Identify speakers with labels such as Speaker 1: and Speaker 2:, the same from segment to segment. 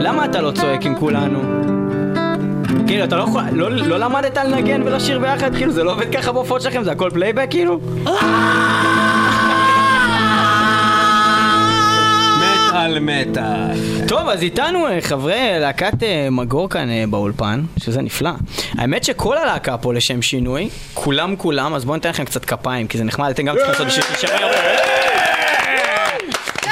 Speaker 1: למה אתה לא צועק עם כולנו? כאילו, אתה לא יכול... לא, לא למדת לנגן ולשיר ביחד? כאילו, זה לא עובד ככה בהופעות שלכם? זה הכל פלייבק, כאילו?
Speaker 2: מת על מטאל.
Speaker 1: טוב, אז איתנו אה, חברי להקת אה, מגור כאן אה, באולפן, שזה נפלא. האמת שכל הלהקה פה לשם שינוי, כולם כולם, אז בואו ניתן לכם קצת כפיים, כי זה נחמד, אתם גם צריכים לעשות בשביל להישאר.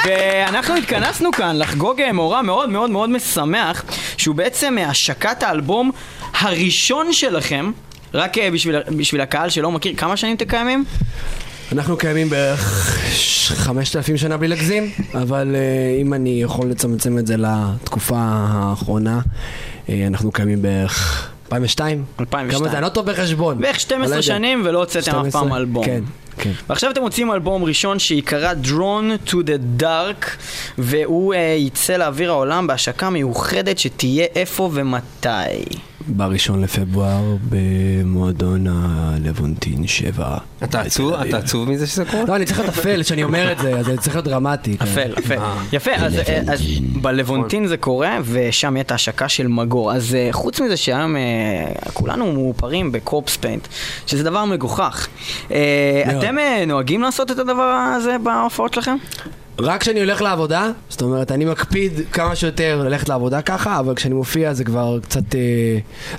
Speaker 1: ואנחנו התכנסנו כאן לחגוג אה, מאורע מאוד מאוד מאוד משמח, שהוא בעצם אה, השקת האלבום הראשון שלכם, רק אה, בשביל, בשביל הקהל שלא מכיר, כמה שנים אתם קיימים?
Speaker 3: אנחנו קיימים בערך 5,000 שנה בלי להגזים, אבל אה, אם אני יכול לצמצם את זה לתקופה האחרונה, אה, אנחנו קיימים בערך 2002.
Speaker 1: 2002.
Speaker 3: כמה זה? אני לא טוב בחשבון.
Speaker 1: בערך
Speaker 3: אבל לא
Speaker 1: 12
Speaker 3: יודע.
Speaker 1: שנים ולא הוצאתם אף
Speaker 3: 12,
Speaker 1: פעם אלבום.
Speaker 3: כן, כן.
Speaker 1: ועכשיו אתם מוצאים אלבום ראשון שיקרא Drone to the Dark והוא uh, יצא לאוויר העולם בהשקה מיוחדת שתהיה איפה ומתי.
Speaker 3: בראשון לפברואר במועדון הלוונטין 7.
Speaker 2: אתה עצוב? אתה עצוב מזה שזה קורה?
Speaker 3: לא, אני צריך להיות אפל שאני אומר את זה, אז אני צריך להיות דרמטי. כן.
Speaker 1: אפל, אפל. יפה, אז, אה, אז בלוונטין זה קורה ושם יהיה את ההשקה של מגור. אז אה, חוץ מזה שהיום אה, כולנו מאופרים בקורפס פיינט, שזה דבר מגוחך. אה,
Speaker 3: מאוד.
Speaker 1: אתם אה, נוהגים לעשות את הדבר הזה בהופעות שלכם?
Speaker 3: רק כשאני הולך לעבודה, זאת אומרת, אני מקפיד כמה שיותר ללכת לעבודה ככה, אבל כשאני מופיע זה כבר קצת... אה,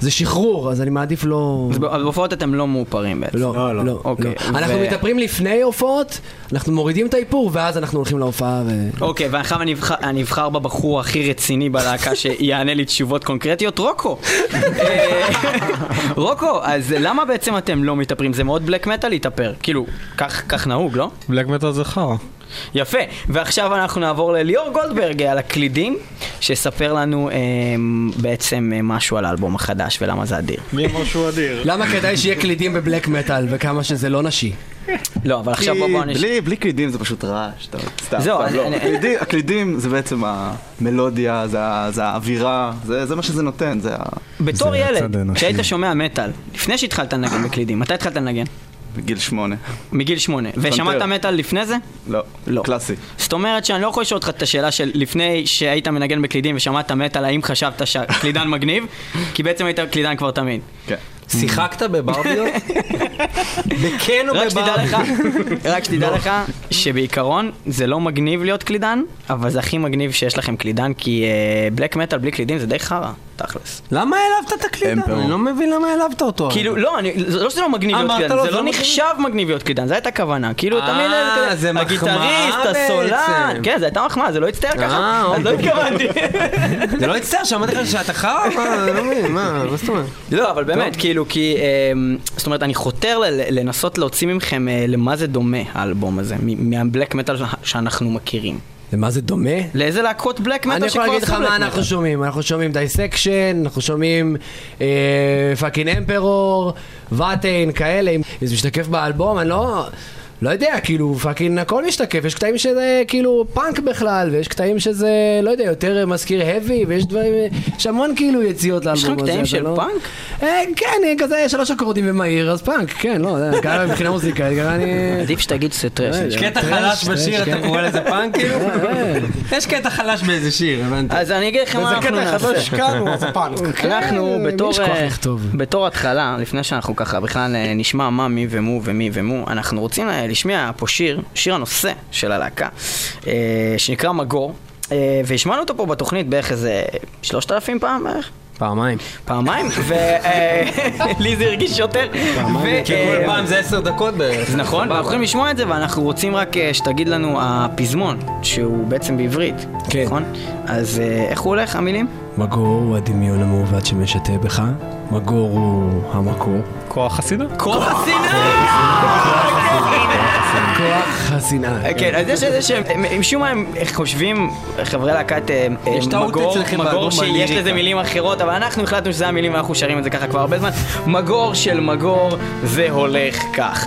Speaker 3: זה שחרור, אז אני מעדיף לא...
Speaker 1: אז בהופעות אתם לא מאופרים בעצם.
Speaker 3: לא, לא, לא.
Speaker 1: אוקיי, ו-
Speaker 3: אנחנו מתאפרים לפני הופעות, אנחנו מורידים את האיפור, ואז אנחנו הולכים להופעה ו...
Speaker 1: אוקיי, ועכשיו אני אבחר- אני אבחר בבחור הכי רציני בלהקה שיענה לי תשובות קונקרטיות, רוקו. אה, רוקו, אז למה בעצם אתם לא מתאפרים? זה מאוד בלק מטאל להתאפר. כאילו, כך כך נהוג, לא?
Speaker 2: בלק מטאל זה חרא.
Speaker 1: יפה. ועכשיו אנחנו נעבור לליאור גולדברג אה, על הקלידים, שיספר לנו אה, בעצם אה, משהו על האלבום החדש ולמה זה אדיר.
Speaker 4: מי אמר שהוא אדיר?
Speaker 3: למה כדאי שיהיה קלידים בבלק מטאל, וכמה שזה לא נשי?
Speaker 1: לא, אבל עכשיו בוא- בוא נשמע.
Speaker 5: בלי, בלי קלידים זה פשוט רעש, אתה- סתם,
Speaker 1: זהו,
Speaker 5: סתם,
Speaker 1: אני-
Speaker 5: לא.
Speaker 1: אני-
Speaker 5: הקלידים- הקלידים זה בעצם המלודיה, זה ה- זה האווירה, זה זה מה שזה נותן, זה ה-
Speaker 1: בתור
Speaker 4: זה הצד
Speaker 1: ילד,
Speaker 4: האנושי.
Speaker 1: כשהיית שומע מטאל, לפני שהתחלת לנגן בקלידים, מתי התחלת לנגן?
Speaker 5: בגיל שמונה.
Speaker 1: מגיל שמונה. ושמעת מטאל לפני זה?
Speaker 5: לא,
Speaker 1: לא.
Speaker 5: קלאסי.
Speaker 1: זאת אומרת שאני לא יכול לשאול אותך את השאלה של לפני שהיית מנגן בקלידים ושמעת מטאל, האם חשבת שהקלידן מגניב? כי בעצם היית קלידן כבר תמיד.
Speaker 5: כן.
Speaker 2: שיחקת בברביות? בכן או
Speaker 1: רק שתדע לך,
Speaker 2: בברביות?
Speaker 1: רק
Speaker 2: לא.
Speaker 1: שתדע לך, שבעיקרון זה לא מגניב להיות קלידן, אבל זה הכי מגניב שיש לכם קלידן, כי בלק מטאל בלי קלידים זה די חרא, תכלס.
Speaker 2: למה העלבת את הקלידן? אני לא מבין למה העלבת אותו.
Speaker 1: כאילו, לא, אני, זה לא שזה לא מגניב להיות
Speaker 2: אמרת
Speaker 1: קלידן,
Speaker 2: לו,
Speaker 1: זה
Speaker 2: זה
Speaker 1: לא
Speaker 2: לא מגניב?
Speaker 1: נחשב מגניב להיות קלידן, זו הייתה הכוונה. כאילו,
Speaker 2: אה,
Speaker 1: תמיד היה כזה,
Speaker 2: זה מחמאה
Speaker 1: הגיטריסט,
Speaker 2: בעצם.
Speaker 1: הסולן. כן, זו הייתה מחמאה, זה לא הצטער ככה, אז לא
Speaker 2: אוקיי.
Speaker 1: התכוונתי.
Speaker 2: זה לא הצטער, שאמרתי לך שאתה חרא? מה, אני לא מבין, מה, מה זאת אומרת?
Speaker 1: לא, אבל באמת, כאילו, כי... אמ, זאת אומרת, אני חותר ל- לנסות להוציא מכם אה, למה זה דומה האלבום הזה, מ- מהבלק מטאל שאנחנו מכירים.
Speaker 3: למה זה דומה?
Speaker 1: לאיזה להקות בלק מטאל
Speaker 3: אני יכול
Speaker 1: שכבר
Speaker 3: להגיד לך
Speaker 1: עשו
Speaker 3: מה
Speaker 1: בלק מטאל.
Speaker 3: אנחנו שומעים, אנחנו שומעים דייסקשן, אנחנו שומעים אה, פאקינג אמפרור, ואטיין, כאלה, אם זה משתקף באלבום, אני לא... לא יודע, כאילו, פאקינג הכל משתקף, יש קטעים שזה כאילו פאנק בכלל, ויש קטעים שזה, לא יודע, יותר אה, מזכיר heavy, ויש דברים, אה, יש המון כאילו יציאות לאלבום
Speaker 1: לך
Speaker 3: הזה.
Speaker 1: קטעים
Speaker 3: אתה
Speaker 1: של
Speaker 3: לא-
Speaker 1: פאנק?
Speaker 3: אה, כן, אה, כזה שלוש אקורדים ומהיר, אז פאנק, כן, לא, זה- גם מבחינה מוזיקאית, גם אני...
Speaker 1: עדיף שתגיד שזה טרש.
Speaker 3: לא יודע.
Speaker 2: קטע
Speaker 3: טרש,
Speaker 2: חלש
Speaker 3: טרש,
Speaker 2: בשיר,
Speaker 3: כן.
Speaker 2: אתה קורא לזה פאנק כאילו?
Speaker 3: אה,
Speaker 2: יש קטע חלש באיזה שיר, הבנתי.
Speaker 1: אז אני אגיד לכם מה אנחנו נעשה.
Speaker 4: כאן, הוא עשה פאנק.
Speaker 1: אנחנו
Speaker 3: למי
Speaker 1: בתור,
Speaker 3: כן, יש כוח
Speaker 1: אה,
Speaker 3: לכתוב?
Speaker 1: בתור התחלה, לפני שאנחנו ככה בכלל אה, נשמע מה מי ומו ומי ומו, אנחנו רוצים אה, לשמיע פה שיר, שיר הנושא של הלהקה, אה, שנקרא מגור, אה, והשמענו אותו פה בתוכנית בערך איזה 3,000 פעם בערך.
Speaker 2: פעמיים.
Speaker 1: פעמיים, ולי זה הרגיש יותר. ו- אה,
Speaker 2: כי כל פעם זה עשר דקות בערך.
Speaker 1: אז נכון, אנחנו יכולים לשמוע את זה, ואנחנו רוצים רק אה, שתגיד לנו הפזמון, שהוא בעצם בעברית,
Speaker 3: כן.
Speaker 1: נכון? אז אה, איך הוא הולך, המילים?
Speaker 3: מגור הוא הדמיון המעוות שמשתה בך, מגור הוא המקור.
Speaker 4: כוח חסידה?
Speaker 1: כוח השנאה!
Speaker 3: כוח השנאה.
Speaker 2: אה,
Speaker 1: כן, אז יש איזה שהם, הם- משום מה הם חושבים, חברי להקת אה, אה,
Speaker 2: יש טעות
Speaker 1: מגור,
Speaker 2: אצלכם
Speaker 1: מגור
Speaker 2: באלבום
Speaker 1: שיש
Speaker 2: הליריקה.
Speaker 1: לזה מילים אחרות, אבל אנחנו החלטנו שזה המילים ואנחנו שרים את זה ככה כבר הרבה זמן. מגור של מגור, זה הולך כך.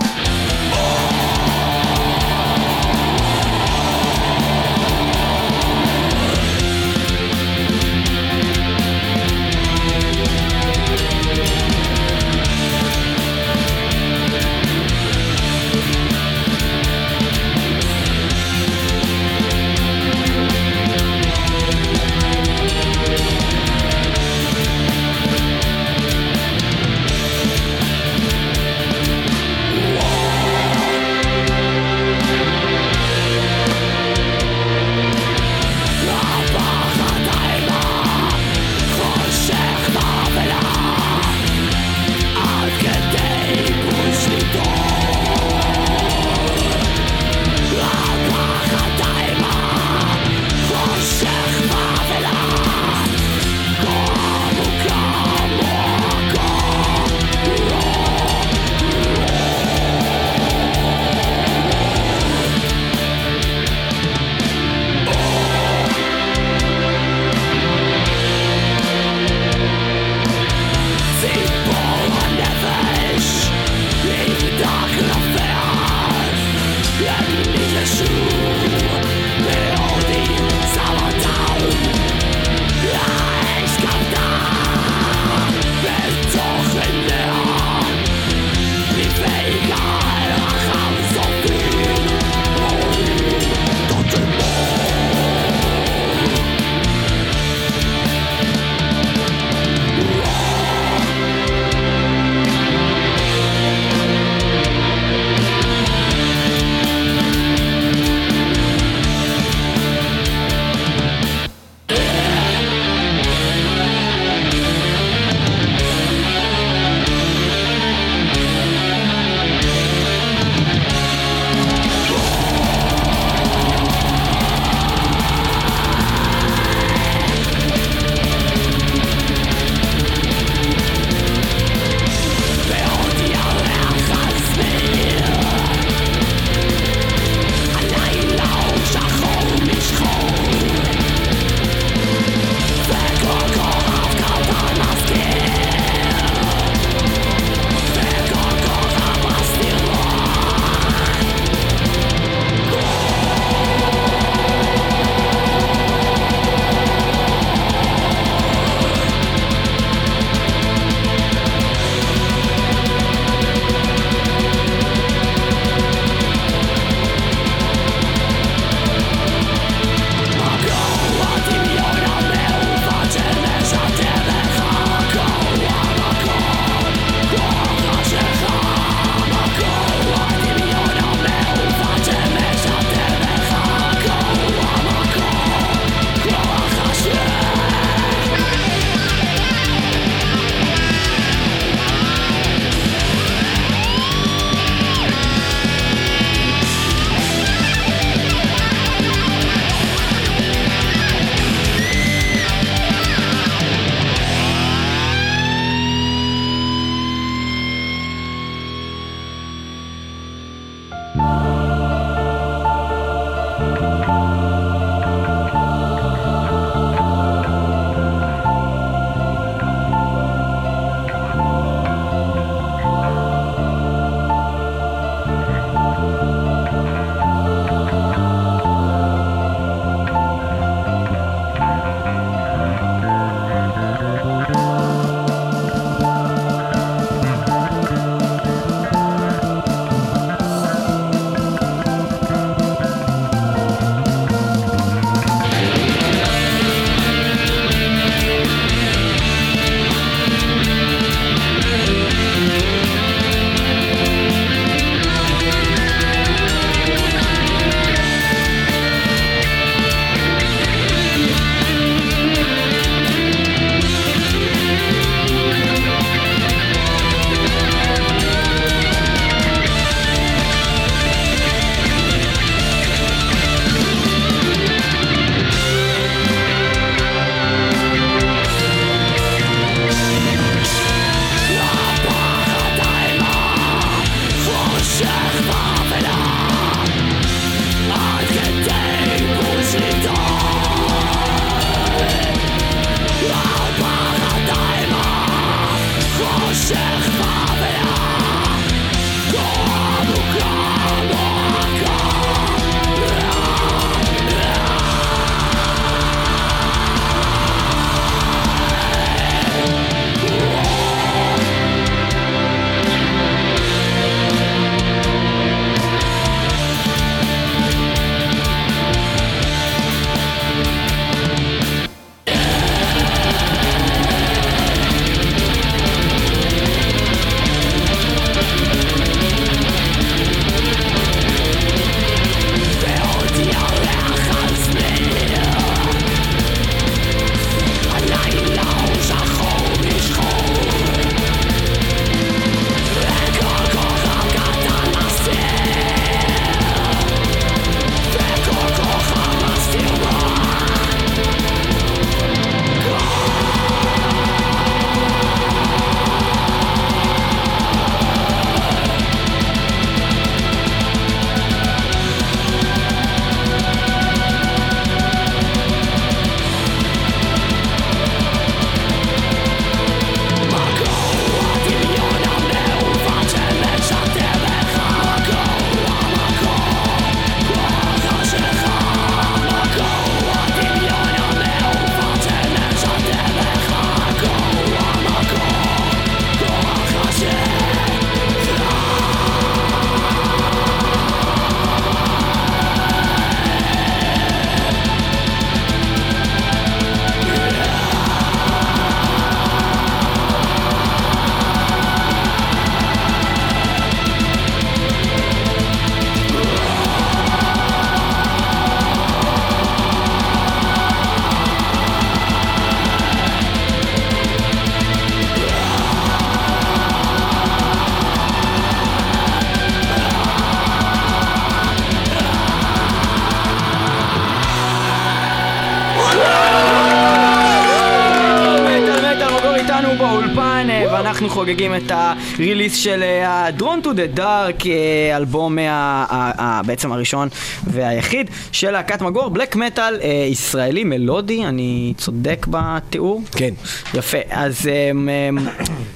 Speaker 1: אנחנו אה, חוגגים את הריליס של אה, ה-Drone to the Dark, אה, אלבום ה- ה- ה- בעצם הראשון והיחיד של להקת מגור, בלק מטאל אה, ישראלי מלודי, אני צודק בתיאור?
Speaker 3: כן.
Speaker 1: יפה, אז אמ, אמ,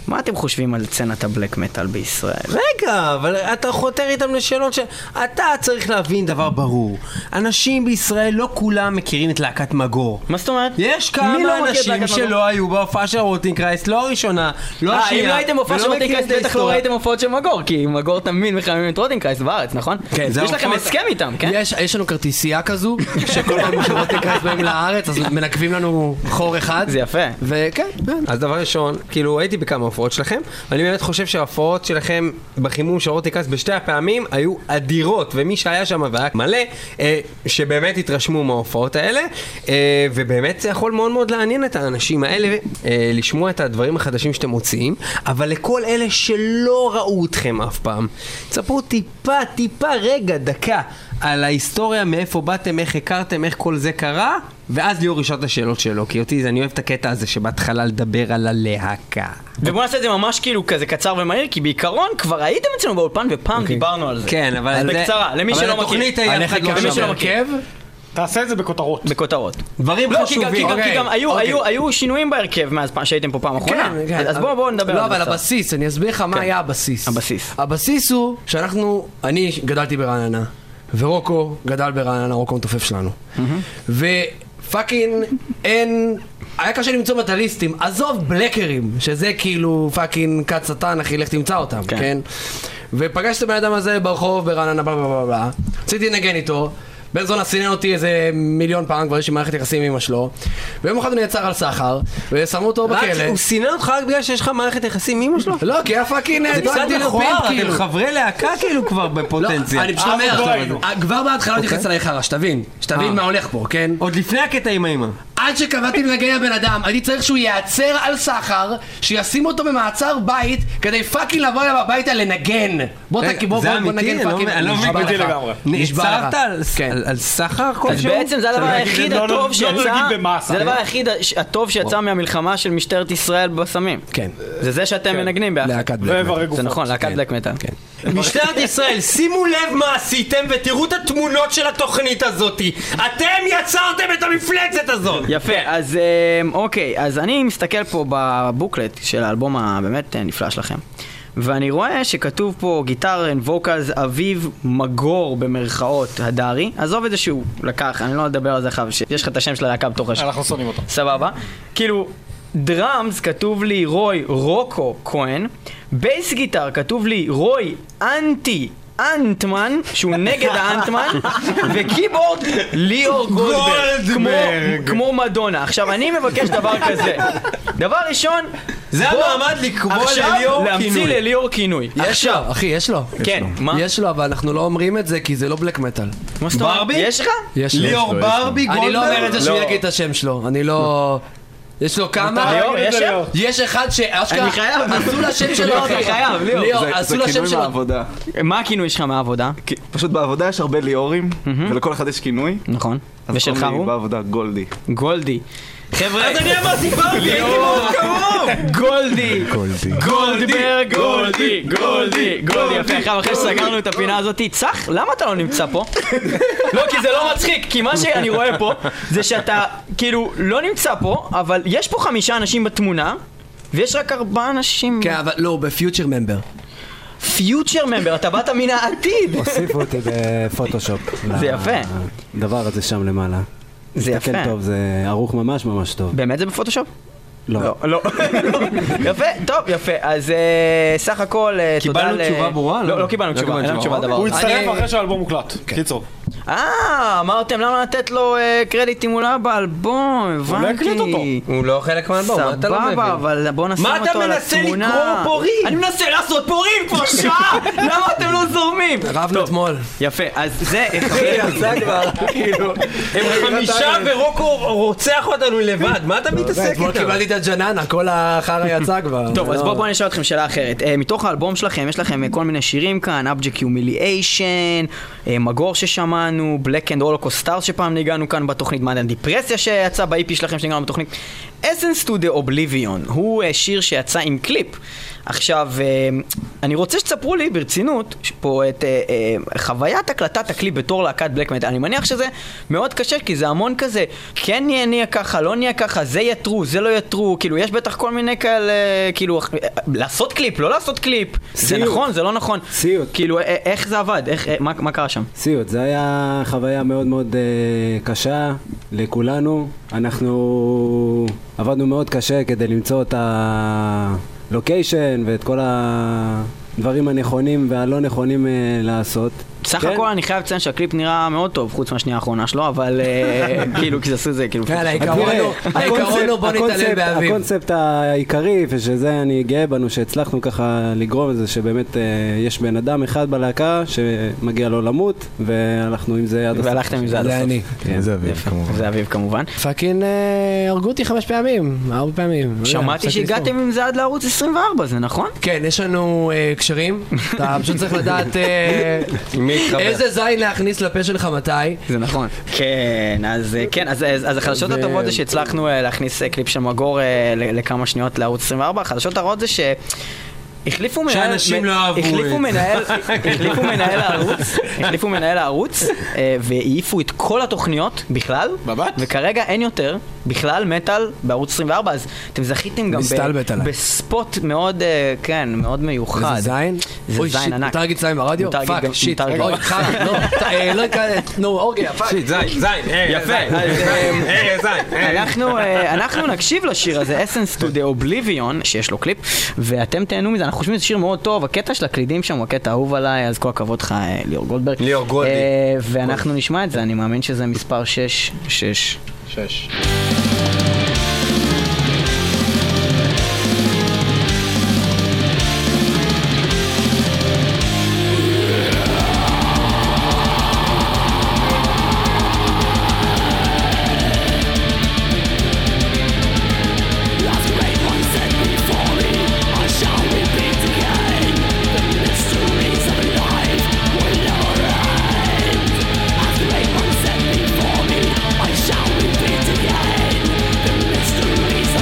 Speaker 1: מה אתם חושבים על סצנת הבלק מטאל בישראל?
Speaker 2: רגע, אבל אתה חותר איתם לשאלות ש... אתה צריך להבין דבר ברור. אנשים בישראל לא כולם מכירים את להקת מגור.
Speaker 1: מה זאת אומרת?
Speaker 2: יש
Speaker 1: מי לא מכיר
Speaker 2: כמה
Speaker 1: את
Speaker 2: אנשים
Speaker 1: להקת מגור?
Speaker 2: שלא היו בהופעה של רוטינקרייסט, לא הראשונה, לא
Speaker 1: אה,
Speaker 2: השנייה.
Speaker 1: אם לא הייתם הופעה
Speaker 2: ולא
Speaker 1: של
Speaker 2: מכירים
Speaker 1: רוטינקרייסט,
Speaker 2: את
Speaker 1: בטח לא
Speaker 2: ההיסטוריה.
Speaker 1: ראיתם הופעות של מגור, כי מגור תמיד מחממים את רוטינקרייסט בארץ, נכון?
Speaker 3: כן, זה
Speaker 1: יש לכם
Speaker 3: ההופעות-
Speaker 1: הסכם איתם, כן?
Speaker 3: יש, יש לנו כרטיסייה כזו, שכל פעם שרותי קיץ באים לארץ, אז מנקבים לנו חור אחד.
Speaker 1: זה יפה.
Speaker 3: וכן, כן.
Speaker 2: אז דבר ראשון, כאילו הייתי בכמה הופעות שלכם, ואני באמת חושב שההופעות שלכם בחימום של רותי כץ בשתי הפעמים היו אדירות, ומי שהיה שם והיה מלא, אה, שבאמת התרשמו מההופעות האלה, אה, ובאמת זה יכול מאוד מאוד לעניין את האנשים האלה, אה, לשמוע את הדברים החדשים שאתם מוציאים, אבל לכל אלה שלא ראו אתכם אף פעם, תספרו טיפה, טיפה, רגע, דקה, על ההיסטוריה, מאיפה באתם, איך הכרתם, איך כל זה קרה, ואז ליאור ישאל את השאלות שלו, כי אותי, זה- אני אוהב את הקטע הזה שבהתחלה לדבר על הלהקה.
Speaker 1: ובוא נעשה את זה ממש כאילו כזה קצר ומהיר, כי בעיקרון כבר הייתם אצלנו באולפן ופעם דיברנו על זה.
Speaker 2: כן, אבל
Speaker 1: אז
Speaker 2: זה-
Speaker 1: בקצרה, למי
Speaker 2: אבל
Speaker 1: שלא מכיר.
Speaker 2: התוכנית היה-
Speaker 1: אני-
Speaker 2: אף אחד לא
Speaker 1: למי
Speaker 2: שמע.
Speaker 1: שלא מכיר.
Speaker 3: הרכב,
Speaker 6: תעשה את זה בכותרות.
Speaker 1: בכותרות.
Speaker 2: דברים
Speaker 1: לא, כי גם- כי
Speaker 2: חשובים.
Speaker 1: גם- כי
Speaker 3: אוקיי,
Speaker 1: גם היו-
Speaker 3: אוקיי.
Speaker 1: היו- היו שינויים בהרכב מאז פעם- שהייתם פה פעם אחרונה.
Speaker 3: כן, כן.
Speaker 1: אז בואו בואו נדבר על זה.
Speaker 3: לא, אבל
Speaker 1: קצת.
Speaker 3: הבסיס, אני אסביר לך מה היה הבסיס.
Speaker 1: הבסיס.
Speaker 3: הבסיס הוא שאנחנו, אני גדלתי ברעננה, ורוקו גדל ברעננה, רוקו המתופף שלנו. ופאקינג אין... היה קשה למצוא מטאליסטים, עזוב בלקרים, שזה כאילו פאקינג כת שטן, אחי, לך תמצא אותם,
Speaker 1: כן.
Speaker 3: כן? כן? ופגשתי את הבן אדם הזה ברחוב ברעננה, בלה בלה בלה בלה. רציתי לנגן איתו. בן זונה סינן אותי איזה מיליון פעם, כבר יש לי מערכת יחסים עם אמא שלו. ויום אחד הוא נעצר על סחר, ושמו אותו
Speaker 2: רק-
Speaker 3: בכלא.
Speaker 2: הוא סינן אותך רק בגלל שיש לך מערכת יחסים עם אמא שלו?
Speaker 3: אוקיי, לא, כי היה פאקינג
Speaker 2: זה
Speaker 3: דואג
Speaker 2: קצת
Speaker 3: ללפיד,
Speaker 2: מכוער, אתם
Speaker 3: כאילו.
Speaker 2: חברי להקה כאילו כבר
Speaker 3: לא,
Speaker 2: בפוטנציה.
Speaker 3: אני פשוט אומר, כבר בהתחלה לא תכנס עליי חרא, שתבין, שתבין
Speaker 2: אה.
Speaker 3: מה הולך פה, כן?
Speaker 2: עוד לפני הקטע עם האמא.
Speaker 3: עד שקבעתי לנגן לבן אדם, הייתי צריך שהוא ייעצר על סחר, שישימו אותו במעצר בית, כדי פאקינג לבוא אליו הביתה לנגן. בוא
Speaker 2: רגע,
Speaker 3: תקי- בוא-
Speaker 2: זה
Speaker 3: בוא- בוא
Speaker 2: אמיתי?
Speaker 3: נגן
Speaker 2: אני לא
Speaker 3: פאקינג.
Speaker 2: מבין- אני לא
Speaker 3: נשבע
Speaker 6: מבין את זה
Speaker 3: לך.
Speaker 6: לגמרי.
Speaker 3: נשבע לך.
Speaker 2: נעצרת על-
Speaker 3: כן.
Speaker 2: על- על סחר
Speaker 1: אז
Speaker 2: כלשהו?
Speaker 1: בעצם זה הדבר
Speaker 6: צריך להגיד,
Speaker 1: היחיד
Speaker 6: לא- לא-
Speaker 1: הטוב
Speaker 6: לא
Speaker 1: שיצא,
Speaker 6: נגיד במאסה.
Speaker 1: זה הדבר היחיד הש- הטוב שיצא מהמלחמה של משטרת ישראל בסמים.
Speaker 3: כן.
Speaker 1: זה זה שאתם מנגנים ביחד.
Speaker 3: להקת בלק.
Speaker 6: ואיברי
Speaker 1: זה
Speaker 6: גופות.
Speaker 1: נכון, להקת
Speaker 3: כן.
Speaker 1: בלק מטאל.
Speaker 3: כן.
Speaker 2: משטרת ישראל, שימו לב מה עשיתם ותראו את התמונות של התוכנית הזאתי. אתם יצרתם את המפלצת הזאת!
Speaker 1: יפה, אז אמ, אוקיי, אז אני מסתכל פה בבוקלט של האלבום הבאמת אה, נפלא שלכם. ואני רואה שכתוב פה גיטר and vocals אביב מגור במרכאות הדרי. עזוב את זה שהוא לקח, אני לא אדבר על זה אחר, שיש לך את השם של הלהקה בתוך השם.
Speaker 6: אנחנו שונאים אותו.
Speaker 1: סבבה. כאילו, דראמס כתוב לי רוי רוקו כהן, בייס גיטר כתוב לי רוי אנטי. אנטמן, שהוא נגד האנטמן, וקeyboard ליאור גולדברג, כמו,
Speaker 2: גולדברג.
Speaker 1: כמו מדונה. עכשיו, אני מבקש דבר כזה. דבר ראשון,
Speaker 2: זה
Speaker 1: בוא
Speaker 2: המעמד לקבוע
Speaker 1: עכשיו
Speaker 2: לליאור כאילו,
Speaker 1: להמציא
Speaker 2: כינוי.
Speaker 1: לליאור כינוי.
Speaker 3: יש
Speaker 1: עכשיו,
Speaker 3: לו, אחי, יש לו.
Speaker 1: כן, מה?
Speaker 3: יש לו, אבל אנחנו לא אומרים את זה, כי זה לא בלק מטאל.
Speaker 1: מה זאת אומרת?
Speaker 2: ברבי?
Speaker 1: יש לך?
Speaker 3: יש לו.
Speaker 2: ליאור ברבי גולדברג?
Speaker 3: אני לא אומר את זה שהוא
Speaker 6: לא.
Speaker 3: יגיד את השם שלו, אני לא... יש לו כמה?
Speaker 1: ליאור, יש לך?
Speaker 3: יש אחד שאשכרה...
Speaker 1: אני חייב.
Speaker 3: עשו לשם שלו,
Speaker 1: אתה
Speaker 7: אוקיי.
Speaker 1: חייב, ליאור.
Speaker 3: ליאור,
Speaker 5: זה-
Speaker 3: עשו
Speaker 5: זה
Speaker 3: לשם
Speaker 5: כינוי
Speaker 3: שלו.
Speaker 5: מהעבודה.
Speaker 1: מה הכינוי שלך מהעבודה?
Speaker 5: כי פשוט בעבודה יש הרבה ליאורים, ולכל אחד יש כינוי.
Speaker 1: נכון.
Speaker 5: אז
Speaker 1: ושלך
Speaker 5: קוראים לי
Speaker 1: הוא?
Speaker 5: בעבודה גולדי.
Speaker 1: גולדי. חבר'ה,
Speaker 2: אז אני אמרתי ברבי, הייתי מאוד קרוב!
Speaker 1: גולדי! גולדברג, גולדי, גולדי, גולדי, יפה, עכשיו אחרי שסגרנו את הפינה הזאת, צח, למה אתה לא נמצא פה? לא, כי זה לא מצחיק, כי מה שאני רואה פה, זה שאתה כאילו לא נמצא פה, אבל יש פה חמישה אנשים בתמונה. ויש רק ארבעה אנשים,
Speaker 3: כן, אבל לא, בפיוטר ממבר.
Speaker 1: פיוטר ממבר, אתה באת מן העתיד.
Speaker 8: הוסיפו אותי בפוטושופ.
Speaker 1: זה יפה.
Speaker 8: הדבר הזה שם למעלה.
Speaker 1: זה
Speaker 8: מסתכל
Speaker 1: יפה.
Speaker 8: טוב, זה ערוך ממש ממש טוב.
Speaker 1: באמת זה בפוטושופ?
Speaker 8: לא.
Speaker 1: לא. יפה, טוב, יפה, אז אה, סך הכל, אה, תודה
Speaker 2: קיבלנו
Speaker 1: ל-
Speaker 2: תשובה ברורה?
Speaker 1: לא,
Speaker 2: לא.
Speaker 1: לא קיבלנו תשובה, אין לנו תשובה לדבר.
Speaker 6: הוא
Speaker 1: הזה.
Speaker 6: יצטרף
Speaker 3: אני- כן. לא,
Speaker 6: אחרי שהאלבום מוקלט. קיצור.
Speaker 1: אה, אמרתם למה לתת לו אה, קרדיט אם הוא לא היה באלבום, הבנתי.
Speaker 6: אולי הקליט אותו.
Speaker 2: הוא לא חלק מהאלבום, מה אתה לא מבין?
Speaker 1: סבבה, אבל בוא נשים
Speaker 2: מה אתה
Speaker 1: אותו על
Speaker 2: מנסה
Speaker 1: התמונה.
Speaker 2: לקרוא פורים?
Speaker 1: אני מנסה לעשות פורים כבר שעה! למה אתם לא זורמים?
Speaker 3: רבנו אתמול.
Speaker 1: יפה, אז זה אה, אחד.
Speaker 2: הם חמישה ורוקו רוצח אותנו לבד, מה אתה מתעסק
Speaker 3: אתמול
Speaker 2: איתם?
Speaker 3: קיבלתי את הג'ננה, כל החרא יצא כבר.
Speaker 1: טוב, אז
Speaker 3: לא.
Speaker 1: בואו בוא נשאל אתכם שאלה אחרת. אה, מתוך האלבום שלכם, יש לכם אה, כל מיני שירים כאן, Object Humiliation, אה, מגור ששמענו, ניגענו, בלק אנד רולוקו סטארס שפעם ניגענו כאן בתוכנית, מעדן דיפרסיה שיצא ב-IP שלכם שניגענו בתוכנית. אסנס טו דה אובליביון, הוא אה, שיר שיצא עם קליפ. עכשיו, אה, אני רוצה שתספרו לי ברצינות יש פה את אה, אה, חוויית הקלטת הקליפ בתור להקת בלק מטאל. אני מניח שזה מאוד קשה, כי זה המון כזה, כן נהיה נהיה ככה, לא נהיה ככה, זה יהיה true, זה לא יהיה true, כאילו, יש בטח כל מיני כאלה, כאילו, אה, לעשות קליפ, לא לעשות קליפ. זה
Speaker 8: סיוט.
Speaker 1: נכון, זה לא נכון.
Speaker 8: סיוט.
Speaker 1: כאילו, א- א- איך זה עבד? איך, אה, מה, מה קרה שם?
Speaker 8: סיוט, זה היה חוויה מאוד מאוד אה, קשה לכולנו. אנחנו עבדנו מאוד קשה כדי למצוא את הלוקיישן ואת כל הדברים הנכונים והלא נכונים אה, לעשות.
Speaker 1: סך
Speaker 8: כן?
Speaker 1: הכל אני חייב לציין שהקליפ נראה מאוד טוב, חוץ מהשנייה האחרונה שלו, אבל אה, כאילו, כי זה עשו זה, כאילו...
Speaker 7: יאללה,
Speaker 1: פשוט-
Speaker 7: כן, העיקרון
Speaker 8: תראה,
Speaker 7: הוא- העיקרון הוא בוא
Speaker 8: הקונספט-
Speaker 7: נתעלל באביו.
Speaker 8: הקונספט העיקרי, ושזה אני גאה בנו, שהצלחנו ככה לגרום לזה שבאמת אה, יש בן אדם אחד בלהקה שמגיע לו למות, והלכנו עם זה עד הסוף.
Speaker 1: והלכתם עם זה עד
Speaker 7: זה
Speaker 1: הסוף.
Speaker 7: אני.
Speaker 9: כן, זה אביב, כמובן.
Speaker 1: זה אביב כמובן.
Speaker 7: פאקינג אה, הרגו אותי חמש פעמים, ארבע פעמים. לא יודע,
Speaker 1: שמעתי
Speaker 7: הפסקתי לספור.
Speaker 1: שהגעתם עם זה עד לערוץ 24, זה נכון?
Speaker 7: כן, יש לנו אה, קשרים, אתה פשוט צריך לדעת אה,
Speaker 2: מי התחבר?
Speaker 7: איזה זין להכניס לפה שלך מתי.
Speaker 1: זה נכון. כן, אז אה, כן, אז, אז, אז החדשות הטובות זה שהצלחנו אה, להכניס אה, קליפ של מגור אה, ל- לכמה שניות לערוץ 24, החדשות הרעות זה ש... החליפו מנהל,
Speaker 2: שאנשים לא אהבו
Speaker 1: החליפו
Speaker 2: את-
Speaker 1: מנהל, החליפו מנהל הערוץ, החליפו מנהל הערוץ, אה, והעיפו את כל התוכניות בכלל,
Speaker 6: מבט.
Speaker 1: וכרגע אין יותר בכלל מטאל בערוץ 24, אז אתם זכיתם גם ב-
Speaker 7: מסתלבט עליי.
Speaker 1: בספוט מאוד, אה, כן, מאוד מיוחד.
Speaker 7: זה זין?
Speaker 1: זה
Speaker 7: אוי,
Speaker 1: זין
Speaker 7: שיט,
Speaker 1: ענק.
Speaker 7: מותר להגיד זין ברדיו?
Speaker 1: מותר להגיד
Speaker 7: פאק,
Speaker 1: גם-
Speaker 7: שיט.
Speaker 1: מותר להגיד
Speaker 7: אוי,
Speaker 1: גם-
Speaker 7: חג, לא, ת- אה, לא הכרת, נו, אורגיה, פאק.
Speaker 2: שיט, זין, זין, אה,
Speaker 1: יפה.
Speaker 2: זין,
Speaker 1: אז,
Speaker 2: זין, אה, זין, אה.
Speaker 1: אנחנו, אה, אנחנו נקשיב לשיר הזה, Essence to the Oblivion, שיש לו קליפ, ואתם תהנו מזה, אנחנו חושבים שזה שיר מאוד טוב, הקטע של הקלידים שם הוא הקטע האהוב עליי, אז כל הכבוד לך, אה, ליאור גולדברג.
Speaker 2: ליאור גולדי.
Speaker 1: אה, ואנחנו נשמע את זה, אני מאמין שזה מספר 6, 6.
Speaker 10: Shall we be together? The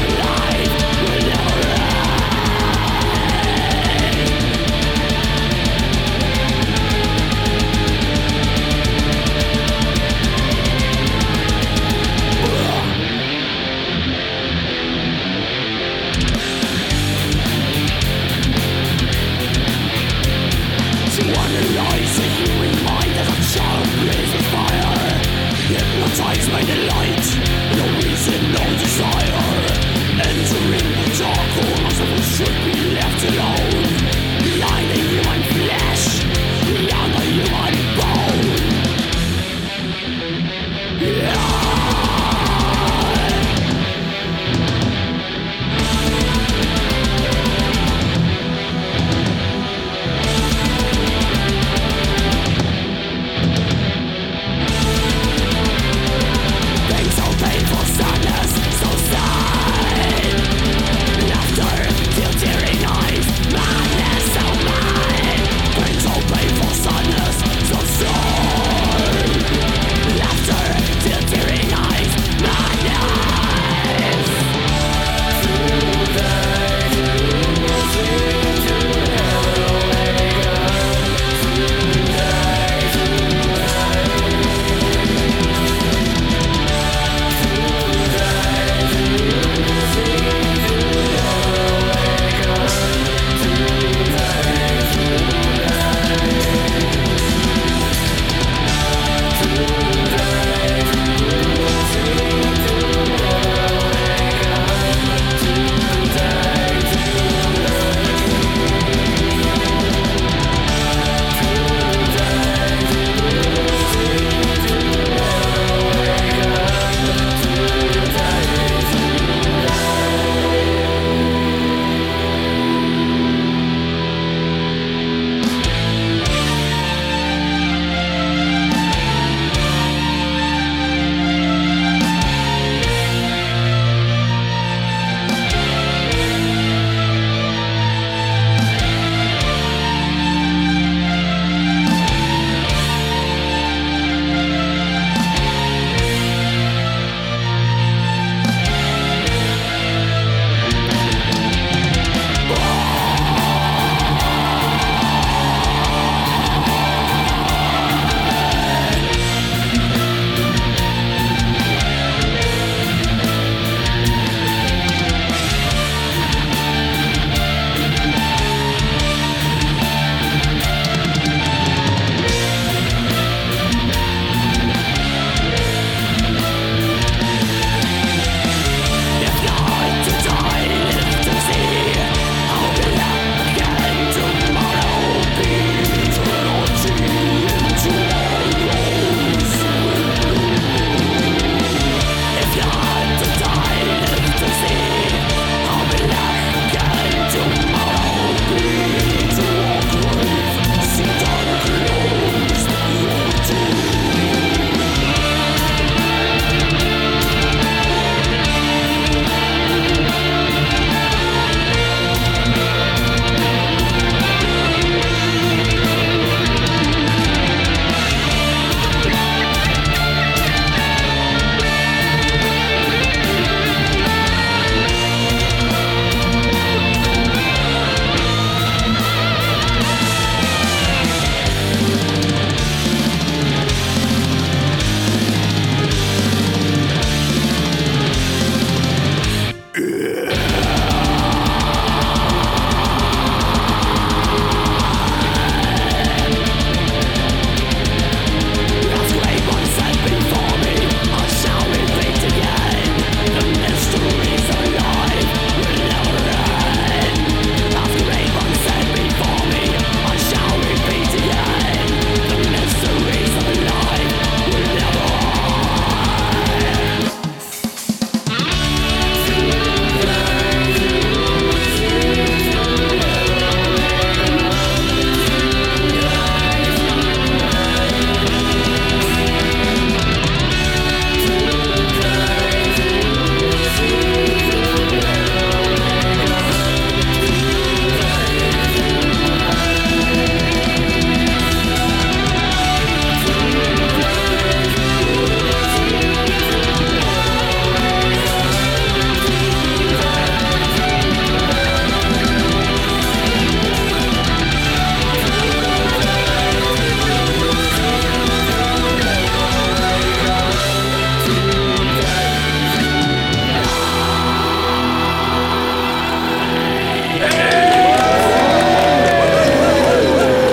Speaker 1: אה,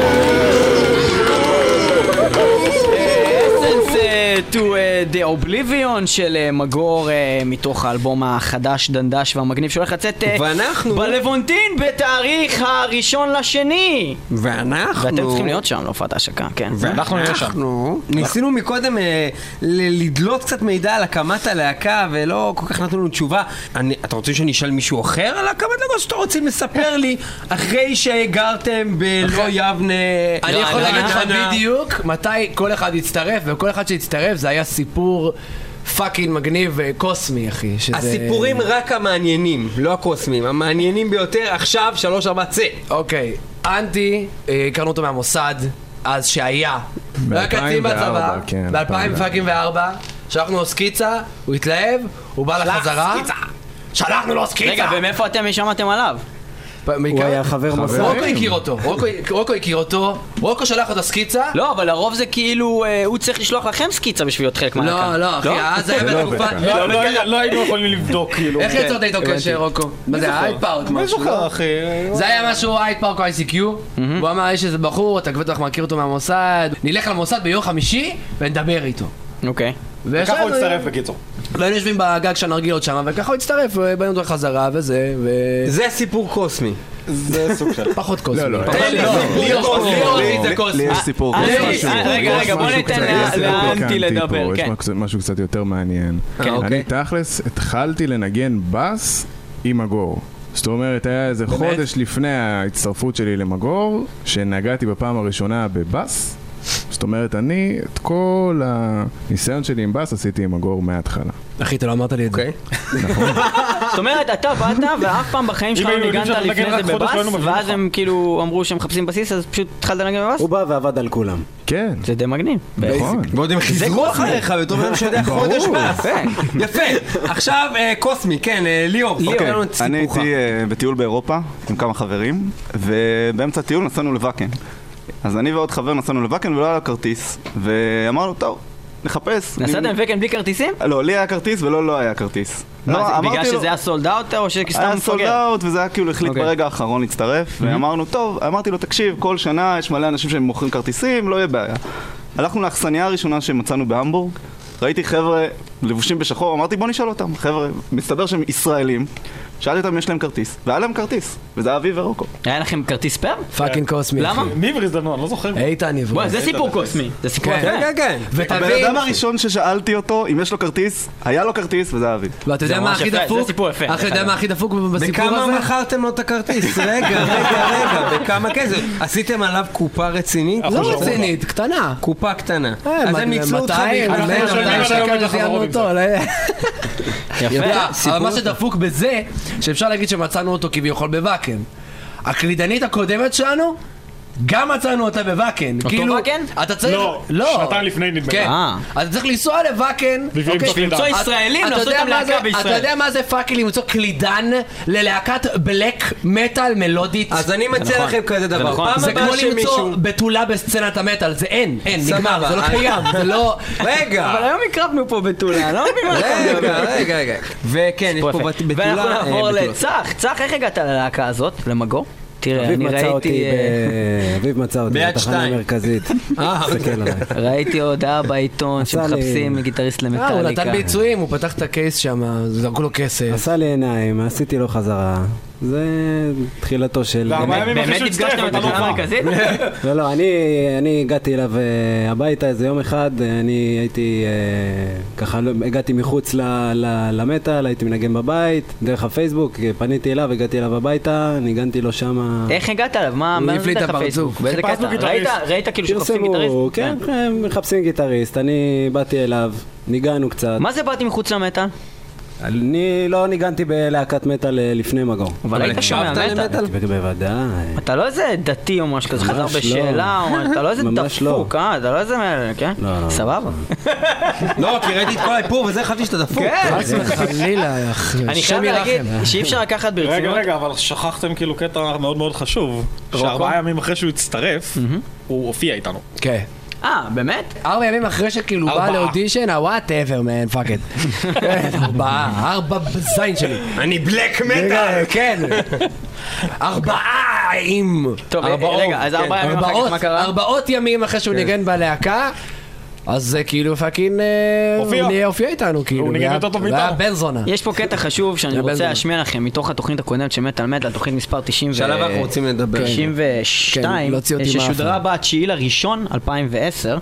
Speaker 1: The Oblivion של אה, מגור אה, מתוך האלבום החדש, דנדש והמגניב שהולך לצאת אה,
Speaker 2: ואנחנו-
Speaker 1: בלוונטין בתאריך הראשון לשני
Speaker 2: ואנחנו...
Speaker 1: ואתם צריכים להיות שם להופעת ההשקה, כן
Speaker 6: ואנחנו נהיה שם.
Speaker 2: נו, ניסינו מקודם אה, ל- לדלות קצת מידע על הקמת הלהקה ולא כל כך נתנו לנו תשובה. אני, אתה רוצה שאני אשאל מישהו אחר על הקמת הלהקה או שאתה רוצה לספר לי אחרי שגרתם בלא יבנה?
Speaker 3: נכון. אני
Speaker 2: לא,
Speaker 3: יכול להגיד לך
Speaker 2: רעננה?
Speaker 3: בדיוק מתי כל אחד הצטרף, וכל אחד שהצטרף זה היה סיפור פאקינג מגניב וקוסמי, אחי. שזה-
Speaker 2: הסיפורים רק המעניינים, לא הקוסמים, המעניינים ביותר עכשיו, שלוש, ארבע, צא.
Speaker 3: אוקיי, אנטי, אה, הכרנו אותו מהמוסד, אז שהיה. הוא היה קצין בצבא,
Speaker 9: כן,
Speaker 3: ב-2004, שלחנו לו סקיצה, הוא התלהב, הוא בא לחזרה. שלחנו לו סקיצה!
Speaker 1: רגע, ומאיפה אתם שמעתם עליו?
Speaker 8: הוא היה חבר מסע.
Speaker 3: רוקו הכיר אותו, רוקו- רוקו הכיר אותו, רוקו שלח לו את הסקיצה.
Speaker 1: לא, אבל לרוב זה כאילו, אה, הוא צריך לשלוח לכם סקיצה בשביל להיות חלק מהלהקה
Speaker 3: לא, לא, אחי, אז היה
Speaker 9: לא
Speaker 3: בתקופה...
Speaker 9: עובד
Speaker 6: לא, לא היה- לא היינו יכולים לבדוק, כאילו.
Speaker 3: איך יצרת איתו קשר, רוקו? מה זה, אייפאוט משהו? לא?
Speaker 6: אחי?
Speaker 3: זה היה משהו אייפאוט או ICQ, והוא אמר, יש איזה בחור, אתה בטח מכיר אותו מהמוסד, נלך למוסד ביום חמישי ונדבר איתו.
Speaker 1: אוקיי
Speaker 6: ככה הוא
Speaker 3: וישבנו-
Speaker 6: הצטרף בקיצור.
Speaker 3: והיינו יושבים בגג של הנרגילות שם, וככה הוא הצטרף, ובאנו אותו חזרה וזה, ו...
Speaker 2: זה סיפור קוסמי.
Speaker 6: זה סוג של...
Speaker 3: פחות קוסמי.
Speaker 9: לא, לא.
Speaker 2: תן לי סיפור
Speaker 3: ליאור
Speaker 2: קוסמי.
Speaker 3: ליאור
Speaker 5: לי-
Speaker 3: זה
Speaker 5: לי-
Speaker 3: קוסמי.
Speaker 5: לי יש סיפור.
Speaker 1: אה,
Speaker 5: יש
Speaker 1: אה,
Speaker 5: משהו.
Speaker 1: רגע, רגע, בוא ניתן
Speaker 9: יש
Speaker 1: לה-
Speaker 9: סיפור
Speaker 1: לאנטי
Speaker 9: פיקנטי
Speaker 1: לדבר,
Speaker 9: פה, יש
Speaker 1: כן אוקיי.
Speaker 9: משהו- משהו קצת יותר מעניין. אני תכלס התחלתי לנגן בס עם מגור. זאת אומרת, היה איזה חודש לפני ההצטרפות שלי למגור, שנגעתי בפעם הראשונה בבס. זאת אומרת, אני את כל הניסיון שלי עם בס עשיתי עם מגור מההתחלה.
Speaker 3: אחי, אתה לא אמרת לי את זה.
Speaker 1: זאת אומרת, אתה באת, ואף פעם בחיים שלך
Speaker 6: אם
Speaker 1: לא
Speaker 6: היינו יודעים
Speaker 1: ניגנת
Speaker 6: שאתה
Speaker 1: לפני
Speaker 6: מנגן
Speaker 1: זה
Speaker 6: רק חודש, לא היינו
Speaker 1: בבאס,
Speaker 6: מבינים
Speaker 1: ואז
Speaker 6: אותך. אוקיי.
Speaker 1: הם כאילו אמרו שהם מחפשים בסיס, אז פשוט התחלת לנגן בבאס?
Speaker 8: הוא בא ועבד על כולם.
Speaker 9: כן,
Speaker 1: זה די מגניב.
Speaker 9: נכון.
Speaker 2: ועוד הם חיזרו אחריך בתור בן שיודע חודש פס. יפה. עכשיו אה, קוסמי, כן, אה, ליאור, ספר
Speaker 5: אוקיי,
Speaker 2: לנו את
Speaker 5: אני
Speaker 2: סיפורך.
Speaker 5: הייתי אה, בטיול באירופה עם כמה חברים, ובאמצע הטיול נסענו לוואקן. אז אני ועוד חבר נסענו לוואקן ולא היה לו כרטיס, ואמרנו, טוב, נחפש.
Speaker 1: נסעתם
Speaker 5: אני-
Speaker 1: וקן בלי כרטיסים?
Speaker 5: לא, לי היה כרטיס ולא לא היה כרטיס.
Speaker 1: מה, זה
Speaker 5: אמרתי
Speaker 1: בגלל
Speaker 5: לו-
Speaker 1: שזה היה סולד אאוט או שסתם
Speaker 5: היה סולד
Speaker 1: מפגר?
Speaker 5: אאוט, וזה היה כאילו החליט
Speaker 1: אוקיי.
Speaker 5: ברגע האחרון להצטרף, ואמרנו, טוב, אמרתי לו, תקשיב, כל שנה יש מלא אנשים שמוכרים כרטיסים, לא יהיה בעיה. הלכנו לאכסניה הראשונה שמצאנו בהמבורג, ראיתי חבר'ה לבושים בשחור, אמרתי, בוא נשאל אותם, חבר'ה, מסתבר שהם ישראלים, שאלתי אותם אם יש להם כרטיס, והיה להם כרטיס, וזה היה אבי ורוקו.
Speaker 1: היה לכם כרטיס פאם?
Speaker 3: פאקינג קוסמי.
Speaker 1: למה?
Speaker 3: אחי.
Speaker 6: מי הבריז לנו? אני לא זוכר.
Speaker 3: איתן עברי.
Speaker 1: בואי, זה סיפור קוסמי. זה סיפור
Speaker 3: כן.
Speaker 1: אחר.
Speaker 2: כן, כן.
Speaker 5: הבן
Speaker 3: ותבין,
Speaker 5: אדם הראשון ששאלתי אותו אם יש לו כרטיס, היה לו כרטיס, וזה היה אבי.
Speaker 2: לא.
Speaker 3: ואתה יודע
Speaker 1: זה
Speaker 3: מה
Speaker 1: ממש
Speaker 3: הכי
Speaker 1: יפה, זה
Speaker 3: דפוק?
Speaker 1: סיפור יפה.
Speaker 3: אחי, אתה יודע מה הכי דפוק בסיפור
Speaker 2: בכמה
Speaker 3: הזה?
Speaker 2: מכרתם לו את הכרטיס? רגע, רגע, רגע, בכמה כסף? עשיתם עליו קופה רצינית?
Speaker 3: לא רצינית, קטנה.
Speaker 2: קופה קטנה.
Speaker 3: אה,
Speaker 2: אז
Speaker 3: מ-
Speaker 2: הם ניצלו אותך
Speaker 3: 200,
Speaker 2: בעיקר.
Speaker 3: 100, 200
Speaker 6: משלמים עד היום
Speaker 3: שקל,
Speaker 6: את
Speaker 3: זיינו
Speaker 6: החברות עם
Speaker 3: אותו, לא-
Speaker 6: כן.
Speaker 3: יודע,
Speaker 1: יפה.
Speaker 3: אבל מה שדפוק בזה, שאפשר להגיד שמצאנו אותו כביכול בוואקן. הקלידנית הקודמת שלנו, גם מצאנו אותה בוואקן. כאילו,
Speaker 1: אותו ואקן?
Speaker 3: אתה צריך...
Speaker 6: לא, שנתיים לפני נדמה לי.
Speaker 3: כן.
Speaker 1: אה.
Speaker 3: אתה צריך לנסוע לוואקן.
Speaker 6: בשביל
Speaker 3: אוקיי?
Speaker 6: למצוא
Speaker 1: למצוא
Speaker 6: אתה-
Speaker 1: ישראלים,
Speaker 3: אתה
Speaker 1: לעשות
Speaker 3: יודע
Speaker 1: איתם
Speaker 3: מה
Speaker 1: להקה
Speaker 3: זה- אתה
Speaker 1: בישראל.
Speaker 3: יודע מה זה פאקינג למצוא קלידן ללהקת בלק מטאל מלודית?
Speaker 2: אז אני מציע
Speaker 1: נכון.
Speaker 2: לכם כזה
Speaker 1: זה
Speaker 2: דבר.
Speaker 1: נכון.
Speaker 2: פעם
Speaker 3: זה כמו
Speaker 2: הבאה שמישהו...
Speaker 3: למצוא בתולה בסצנת המטאל, זה אין, אין,
Speaker 2: סבבה,
Speaker 3: נגמר, זה לא
Speaker 2: אני-
Speaker 3: קיים, זה לא...
Speaker 2: רגע,
Speaker 1: אבל היום הקרבנו פה בתולה, אני לא מבין מה אתה
Speaker 2: רגע, רגע, רגע. וכן, יש פה
Speaker 1: יפה.
Speaker 2: בת- בתולה...
Speaker 1: ואנחנו
Speaker 2: אה,
Speaker 1: נעבור
Speaker 2: בתולה.
Speaker 1: לצח. צח, איך הגעת ללהקה הזאת? למגור? תראה,
Speaker 8: אביב
Speaker 1: אני
Speaker 8: מצא אותי,
Speaker 1: ראיתי... אה,
Speaker 8: ב- אביב מצא אותי
Speaker 2: ביד
Speaker 8: בתחנה
Speaker 2: שתיים.
Speaker 8: המרכזית.
Speaker 2: אה,
Speaker 8: תסתכל עליי.
Speaker 1: ראיתי הודעה בעיתון
Speaker 8: עשה לי-
Speaker 1: שמחפשים גיטריסט
Speaker 3: אה, הוא
Speaker 1: למטאליקה.
Speaker 3: נתן ביצועים, הוא פתח את הקייס שם, זרקו לו כסף.
Speaker 8: עשה לי עיניים, עשיתי לו חזרה. זה תחילתו של...
Speaker 6: וארבעה ימים אחרי
Speaker 1: באמת
Speaker 6: שהוא הצטרף,
Speaker 1: נפגשתם
Speaker 6: אתה לא
Speaker 1: בתחנה
Speaker 6: בא.
Speaker 1: המרכזית?
Speaker 8: לא, לא, אני, אני הגעתי אליו אה, הביתה איזה יום אחד, אה, אני הייתי אה, ככה, לא- הגעתי מחוץ ל, ל, למטאל, הייתי מנגן בבית, דרך הפייסבוק, אה, פניתי אליו, הגעתי אליו הביתה, ניגנתי לו שמה...
Speaker 1: איך הגעת אליו? מה מה זה
Speaker 3: הבליט
Speaker 1: לך
Speaker 3: הפרצוף,
Speaker 1: פייסבוק? באיזה
Speaker 6: חיפשנו
Speaker 1: קטע? ראית
Speaker 6: גיטריסט.
Speaker 1: ראית כאילו שחופשים גיטריסט?
Speaker 8: כן, כן, מחפשים גיטריסט, אני באתי אליו, ניגענו קצת.
Speaker 1: מה זה באתי מחוץ למטאל?
Speaker 8: אני לא ניגנתי בלהקת מטאל אה, לפני מגור.
Speaker 1: אבל היית שומע
Speaker 2: הקשבת
Speaker 1: מטאל.
Speaker 2: למטאל?
Speaker 8: בוודאי.
Speaker 1: אתה לא איזה דתי או משהו כזה,
Speaker 8: ממש
Speaker 1: חזר
Speaker 8: לא.
Speaker 1: בשאלה, או משהו- אתה לא איזה
Speaker 8: ממש לא.
Speaker 1: דפוק, אה? אתה לא איזה מאלה, כן?
Speaker 8: לא, לא.
Speaker 1: סבבה.
Speaker 2: לא, כי ראיתי את כל האיפור וזה, חשבתי שאתה דפוק.
Speaker 1: כן.
Speaker 3: חס וחלילה, אח,
Speaker 1: אני
Speaker 3: השם
Speaker 1: חייב להגיד
Speaker 3: ירחם.
Speaker 1: שאי אפשר לקחת
Speaker 6: רגע,
Speaker 1: ברצינות.
Speaker 6: רגע, אבל שכחתם כאילו קטע מאוד מאוד חשוב,
Speaker 1: רוקו?
Speaker 6: שארבעה ימים אחרי שהוא הצטרף, הוא הופיע איתנו.
Speaker 3: כן.
Speaker 1: אה, באמת?
Speaker 3: ארבע ימים אחרי שכאילו בא
Speaker 6: ארבעה.
Speaker 3: לאודישן, הוואטאבר, מן, פאק את. ארבעה, ארבע בזין שלי.
Speaker 2: אני בלק מטאל!
Speaker 3: רגע, כן. ארבעה עם.
Speaker 1: טוב, אה,
Speaker 2: ארבעות,
Speaker 1: רגע, אז
Speaker 2: כן.
Speaker 1: ארבעה ימים אחר כך
Speaker 3: ארבעות,
Speaker 1: מה קרה? כן.
Speaker 3: ארבעות ימים אחרי שהוא ניגן בלהקה,
Speaker 7: אז זה כאילו פאקינג... אה,
Speaker 6: הופיע.
Speaker 7: הוא נהיה הופיע איתנו, כאילו.
Speaker 6: הוא ניגן
Speaker 7: והיה-
Speaker 6: יותר טוב מאיתנו.
Speaker 7: והיה בן זונה.
Speaker 1: יש פה קטע חשוב שאני
Speaker 7: זה
Speaker 1: רוצה
Speaker 7: בלבל.
Speaker 1: להשמיע לכם מתוך התוכנית הקודמת של מטאל מטאל, תוכנית מספר 90 ו...
Speaker 2: שעליו אנחנו רוצים לדבר.
Speaker 1: 92,
Speaker 7: כן, לא הוציא אותי
Speaker 1: ששודרה
Speaker 7: מהאף.
Speaker 1: ב-9 לראשון 2010.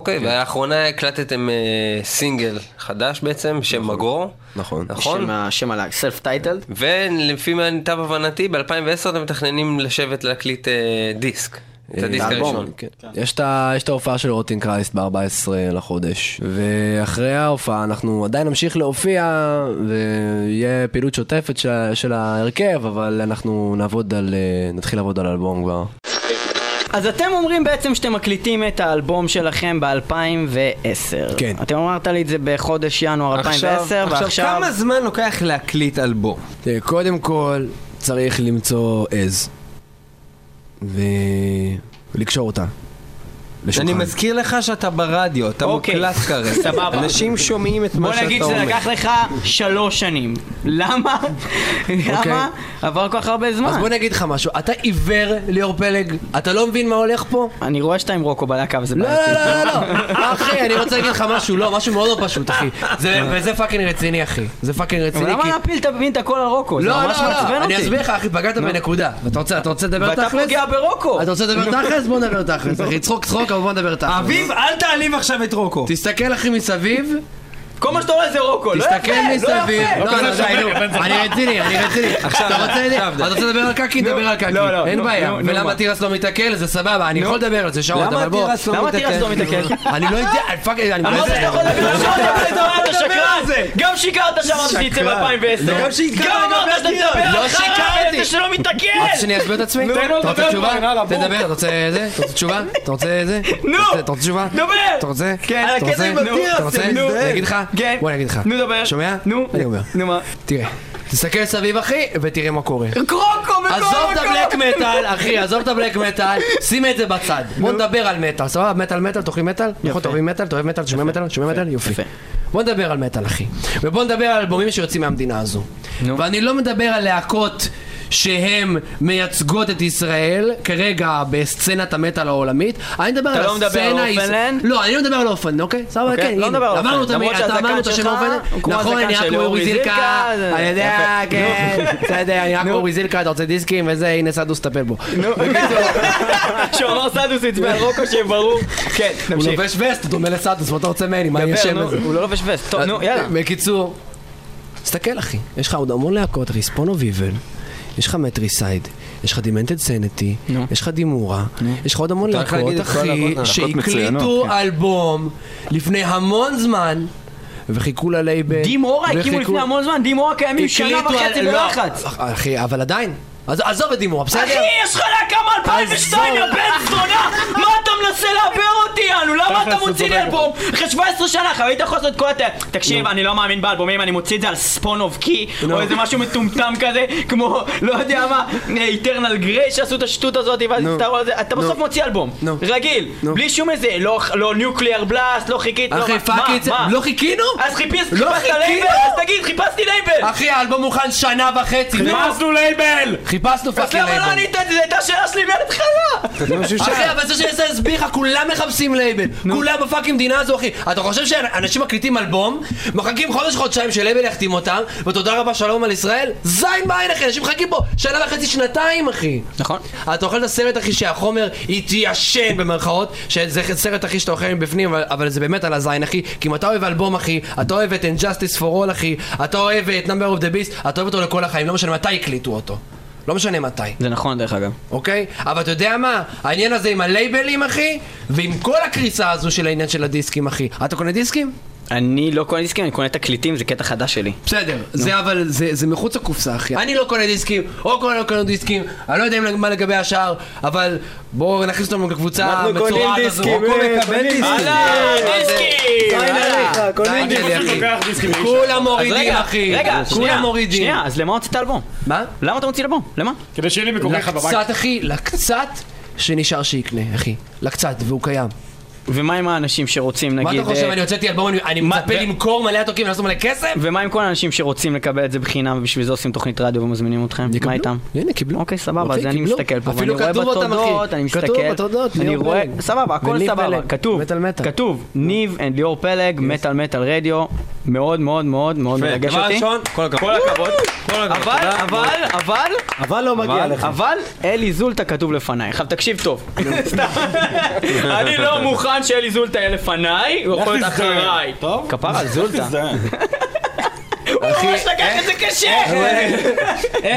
Speaker 10: אוקיי, ולאחרונה הקלטתם אה, סינגל חדש בעצם, שם מגור,
Speaker 2: נכון.
Speaker 10: נכון?
Speaker 1: שם ה- שם על הסלף טייטל.
Speaker 10: ולפי מה נתב הבנתי, ב-2010 אתם מתכננים לשבת להקליט אה, דיסק. את הדיסק הראשון. כן.
Speaker 3: יש את ה- יש את ההופעה של רוטין קרייסט ב-14 לחודש, ואחרי ההופעה אנחנו עדיין נמשיך להופיע, ויהיה פעילות שוטפת של- של ההרכב, אבל אנחנו נעבוד על... אה, נתחיל לעבוד על אלבום כבר.
Speaker 1: אז אתם אומרים בעצם שאתם מקליטים את האלבום שלכם ב-2010.
Speaker 3: כן.
Speaker 1: אתם אמרת לי את זה בחודש ינואר 2010,
Speaker 2: עכשיו,
Speaker 1: ועכשיו...
Speaker 2: כמה זמן לוקח להקליט אלבום?
Speaker 3: תראה, אה, קודם כל צריך למצוא עז, ולקשור אותה. לשולחן.
Speaker 2: אני מזכיר לך שאתה ברדיו, אתה
Speaker 1: אוקיי.
Speaker 2: מוקלט כרגע.
Speaker 1: סבבה.
Speaker 2: אנשים שומעים את מה
Speaker 1: בוא
Speaker 2: שאתה אומר.
Speaker 1: נגיד שזה לקח לך שלוש שנים. למה? למה? עבר כל כך הרבה
Speaker 3: אוקיי. אז
Speaker 1: זמן.
Speaker 3: בוא נגיד לך משהו, אתה עיוור, ליאור פלג? אתה לא מבין מה הולך פה?
Speaker 1: אני רואה שאתה עם רוקו בלהקה וזה
Speaker 3: לא,
Speaker 1: בעייתי.
Speaker 3: לא, לא, לא, לא. אחי, אני רוצה להגיד לך משהו, לא, משהו מאוד לא פשוט, אחי. זה- וזה פאקינג רציני, אחי. זה פאקינג
Speaker 1: אבל
Speaker 3: רציני,
Speaker 1: למה
Speaker 3: כי...
Speaker 1: להפיל את ה- את הכל על רוקו? זה
Speaker 3: לא, לא,
Speaker 1: ממש מעצבן
Speaker 3: לא,
Speaker 1: אותי.
Speaker 3: אני אסביר לך, אחי, פגעת בנקודה. ואתה רוצה, אתה רוצה לדבר
Speaker 1: ואתה
Speaker 3: תכלס?
Speaker 1: פוגע ברוקו.
Speaker 3: אתה רוצה לדבר תכלס? בוא נדבר תכלס, אחי. צחוק צחוק, אבל בוא נדבר תכלס.
Speaker 2: אביב, אל תעליב עכשיו את רוקו.
Speaker 3: תסתכל, אחי, מסביב.
Speaker 1: כל מה שאתה רואה זה רוקו. לא יפה,
Speaker 3: תסתכל
Speaker 1: לא
Speaker 3: מסביב.
Speaker 1: יפה.
Speaker 3: לא, לא, די, נו. אני רציני, אני רציני.
Speaker 2: עכשיו,
Speaker 3: אתה רוצה-
Speaker 2: עכשיו,
Speaker 3: אתה רוצה לדבר על קקי? דבר על
Speaker 2: לא, לא,
Speaker 3: קקי. אין
Speaker 2: נו,
Speaker 3: בעיה.
Speaker 2: נו, נו,
Speaker 3: ולמה
Speaker 2: מה?
Speaker 3: תירס לא מתקל? זה סבבה, אני יכול לדבר על זה שעות,
Speaker 2: למה
Speaker 3: אבל בוא.
Speaker 2: תירס לא
Speaker 1: למה
Speaker 2: מתעכב?
Speaker 1: תירס לא מתעכל?
Speaker 3: אני לא יודע, אני פאק, אני
Speaker 1: אמרת שאתה יכול לדבר על שעות, אבל אתה אמרת שקרן. גם שיקרת שאמרת שזה יצא ב-2010.
Speaker 2: וגם שיקרת,
Speaker 1: גם
Speaker 2: גם
Speaker 1: אמרת שאתה
Speaker 2: להכיר.
Speaker 1: מדבר
Speaker 3: לא
Speaker 1: על
Speaker 3: שיקרתי.
Speaker 1: חרא, שלא
Speaker 3: רוצה
Speaker 1: מתעכל.
Speaker 3: שאני אסביר את עצמי?
Speaker 6: תן לו
Speaker 3: אתה רוצה
Speaker 6: לדבר,
Speaker 3: תשובה?
Speaker 6: כבר, יאללה, בוא.
Speaker 3: תדבר, אתה רוצה זה? אתה רוצה תשובה? אתה רוצה זה?
Speaker 1: נו!
Speaker 3: אתה רוצה- אתה רוצה תשובה?
Speaker 1: דבר!
Speaker 3: אתה רוצה?
Speaker 1: כן,
Speaker 3: אתה רוצה?
Speaker 1: הקטע עם התירס,
Speaker 3: אתה רוצה?
Speaker 1: נו.
Speaker 3: אני אגיד לך?
Speaker 1: כן.
Speaker 3: בוא אני אגיד לך.
Speaker 1: נו דבר.
Speaker 3: שומע?
Speaker 1: נו.
Speaker 3: אני אומר.
Speaker 1: נו מה?
Speaker 3: תראה. תסתכל סביב אחי ותראה מה קורה.
Speaker 1: קרוקו בכל
Speaker 3: עזוב את
Speaker 1: מקום.
Speaker 3: הבלק מטאל, אחי, עזוב את הבלק מטאל, שים את זה בצד. בוא נדבר על מטאל, סבבה? מטאל מטאל, תוכלי מטאל? נכון, אתה אוהב מטאל, אתה אוהב מטאל, שומע מטאל, שומע מטאל, יופי.
Speaker 1: יפה.
Speaker 3: בוא נדבר על מטאל, אחי. ובוא נדבר על אלבומים שיוצאים מהמדינה הזו. ואני לא מדבר על להקות שהן מייצגות את ישראל כרגע בסצנת המטאל העולמית, אני מדבר על
Speaker 1: לא מדבר
Speaker 3: הסצנה...
Speaker 1: על אופנלנד?
Speaker 3: לא, אני לא מדבר על אופן, אוקיי? סבבה,
Speaker 1: אוקיי,
Speaker 3: כן,
Speaker 1: לא
Speaker 3: הנה.
Speaker 1: מדבר על
Speaker 3: אמרנו את
Speaker 1: אופן.
Speaker 3: המ-
Speaker 1: למרות
Speaker 3: אתה
Speaker 1: שהזקן
Speaker 3: אמרנו את השם
Speaker 1: שלך
Speaker 3: אופן,
Speaker 1: הוא כמו
Speaker 3: נכון,
Speaker 1: הזקן
Speaker 3: אני רק
Speaker 1: של אורי
Speaker 3: מאורי זילקה,
Speaker 1: זילקה, זה-
Speaker 3: אני יודע,
Speaker 1: יפה.
Speaker 3: כן, בסדר, אני רק אורי זילקה, אתה רוצה דיסקים, וזה, הנה סעדוס תטפל בו.
Speaker 1: שהוא אמר סדוס עצבן רוקו שיהיה ברור. כן,
Speaker 3: הוא
Speaker 1: נמשיך.
Speaker 3: לובש וסט, הוא דומה לסעדוס, מה אתה רוצה ממני, מה אני
Speaker 1: דבר,
Speaker 3: אשם
Speaker 1: נו,
Speaker 3: בזה?
Speaker 1: הוא לא לובש וסט. טוב,
Speaker 3: אה,
Speaker 1: נו, יאללה.
Speaker 3: בקיצור, תסתכל אחי, יש לך עוד המון להקות, אחי, ספונו ויבל, יש לך מטריסייד, יש לך דימנטד סנטי, יש לך דימורה, יש לך עוד המון
Speaker 2: אתה יכול
Speaker 3: להקות,
Speaker 2: להגיד את כל
Speaker 3: אחי,
Speaker 2: הלהקות,
Speaker 5: להקות מצוינות,
Speaker 3: שהקליטו
Speaker 5: כן.
Speaker 3: אלבום לפני המון זמן, וחיכו ללייבל.
Speaker 1: דימורה הקימו
Speaker 3: וחיכו-
Speaker 1: לפני המון זמן, דימורה קיימים שנה
Speaker 3: הקליטו
Speaker 1: וחצי
Speaker 3: אל- לא,
Speaker 1: בלחץ.
Speaker 3: אחי, אבל עדיין. אז עזוב את דימורה, בסדר?
Speaker 1: אחי, יש לך להקה מ-2002, יא
Speaker 3: עזוב.
Speaker 1: בן זונה! מה אתה מנסה לעבר אותי, אנו? למה אתה מוציא לי אלבום? אחרי 17 שנה, אחי, היית יכול לעשות את כל הת... תקשיב, אני לא מאמין באלבומים, אני מוציא את זה על ספון אוף קי, או איזה משהו מטומטם כזה, כמו, לא יודע מה, איטרנל גריי שעשו את השטות הזאת, ואז הסתערו על זה, אתה בסוף מוציא אלבום. רגיל. בלי שום איזה, לא- לא ניוקליאר בלאסט, לא חיכית, לא...
Speaker 3: אחי,
Speaker 1: מה-
Speaker 3: פאק
Speaker 1: מה-
Speaker 3: איט,
Speaker 1: מה?
Speaker 3: לא חיכינו?
Speaker 1: אז חיפשת
Speaker 3: לא
Speaker 1: חיפשת
Speaker 3: חיכינו?
Speaker 1: לייבל, אז תגיד, חיפשתי לייבל!
Speaker 3: אחי, האלבום מוכן שנה וחצי, נו,
Speaker 6: חיפשנו לייבל!
Speaker 3: חיפשנו
Speaker 1: אז
Speaker 3: פאקינג
Speaker 1: למה לא
Speaker 3: לייבל.
Speaker 1: ענית את זה? זו הייתה שאלה שלי מההתחלה!
Speaker 3: אחי, אבל זה שאני רוצה להסביר לך, כולם מחפשים לייבל. כולם בפאקינג מדינה הזו, אחי. אתה חושב שאנשים מקליטים אלבום, מחכים חודש, חודשיים שלייבל יחתים אותם, ותודה רבה, שלום על ישראל? זין בעין, אחי. אנשים מחכים פה שנה וחצי, שנתיים, אחי.
Speaker 1: נכון.
Speaker 3: אתה אוכל את הסרט, אחי, שהחומר התיישן במרכאות, שזה סרט, אחי, שאתה אוכל מבפנים, אבל, אבל זה באמת על הזין, אחי, כי אם אתה אוהב אלבום, אחי, אתה אוהב את Injustice for All, אחי, אתה אוהב את Number of the Beast, אתה אוהב אותו לכל החיים, לא משנה מתי הקליטו אותו. לא משנה מתי,
Speaker 1: זה נכון, דרך אגב.
Speaker 3: אוקיי? אבל אתה יודע מה? העניין הזה עם הלייבלים, אחי, ועם כל הקריסה הזו של העניין של הדיסקים, אחי. אתה קונה דיסקים?
Speaker 1: אני לא קונה דיסקים, אני קונה תקליטים, זה קטע חדש שלי.
Speaker 3: בסדר, זה אבל, זה, זה מחוץ לקופסה אחי. אני לא קונה דיסקים, או קונה לא קונה דיסקים, אני לא יודע אם- מה לגבי השאר, אבל בואו נכניס אותם לקבוצה המצורעת הזו.
Speaker 2: רוקו מקבל דיסקים.
Speaker 1: אה,
Speaker 3: די לי, אחי. כולם מורידים אחי, כולם מורידים.
Speaker 1: שנייה, אז למה הוצאת אלבום?
Speaker 3: מה?
Speaker 1: למה אתה מוציא אלבום? למה?
Speaker 6: כדי שיהיה לי מקומך בבית.
Speaker 3: לקצת אחי, לקצת שנשאר שיקנה אחי, לקצת, והוא קיים.
Speaker 1: ומה עם האנשים שרוצים,
Speaker 3: מה
Speaker 1: נגיד...
Speaker 3: אתה חושב,
Speaker 1: אה,
Speaker 3: אני הוצאתי אלבום, אני- אני
Speaker 1: מה-
Speaker 3: מצפה
Speaker 1: ו-
Speaker 3: למכור מלא עתוקים ולעשות מלא כסף?
Speaker 1: ומה עם כל האנשים שרוצים לקבל את זה בחינם ובשביל זה עושים תוכנית רדיו ומזמינים אתכם? מה איתם?
Speaker 7: הנה, קיבלו.
Speaker 1: אוקיי, סבבה,
Speaker 7: אוקיי,
Speaker 1: אז אני
Speaker 7: קיבלו.
Speaker 1: מסתכל פה, ואני
Speaker 7: אפילו
Speaker 1: רואה
Speaker 7: כתוב אותם,
Speaker 1: בתודות,
Speaker 7: אחי.
Speaker 1: אני מסתכל,
Speaker 7: כתוב בתודות,
Speaker 1: אני
Speaker 7: ליאור
Speaker 1: רואה,
Speaker 7: פלג.
Speaker 1: סבבה, הכל
Speaker 7: וניב
Speaker 1: סבבה,
Speaker 7: פלג. Mm.
Speaker 1: כתוב,
Speaker 7: מטאל מטאל.
Speaker 1: כתוב, ניב and ליאור פלג, מטאל מטאל רדיו, מאוד מאוד מאוד מאוד מרגש
Speaker 2: דבר
Speaker 1: אותי,
Speaker 2: ראשון, כל הכבוד.
Speaker 6: כל הכבוד, כל הכבוד.
Speaker 1: אבל, אבל, אבל,
Speaker 8: אבל לא מגיע לך.
Speaker 1: אבל אלי זולטה כתוב לפניי, עכשיו תקשיב טוב, סתם, אני לא מוכן שאלי זולטה יהיה לפניי, הוא יכול להיות אחריי,
Speaker 6: טוב?
Speaker 1: כפרה על זולטה,
Speaker 7: אה,
Speaker 2: בוא נגיד לך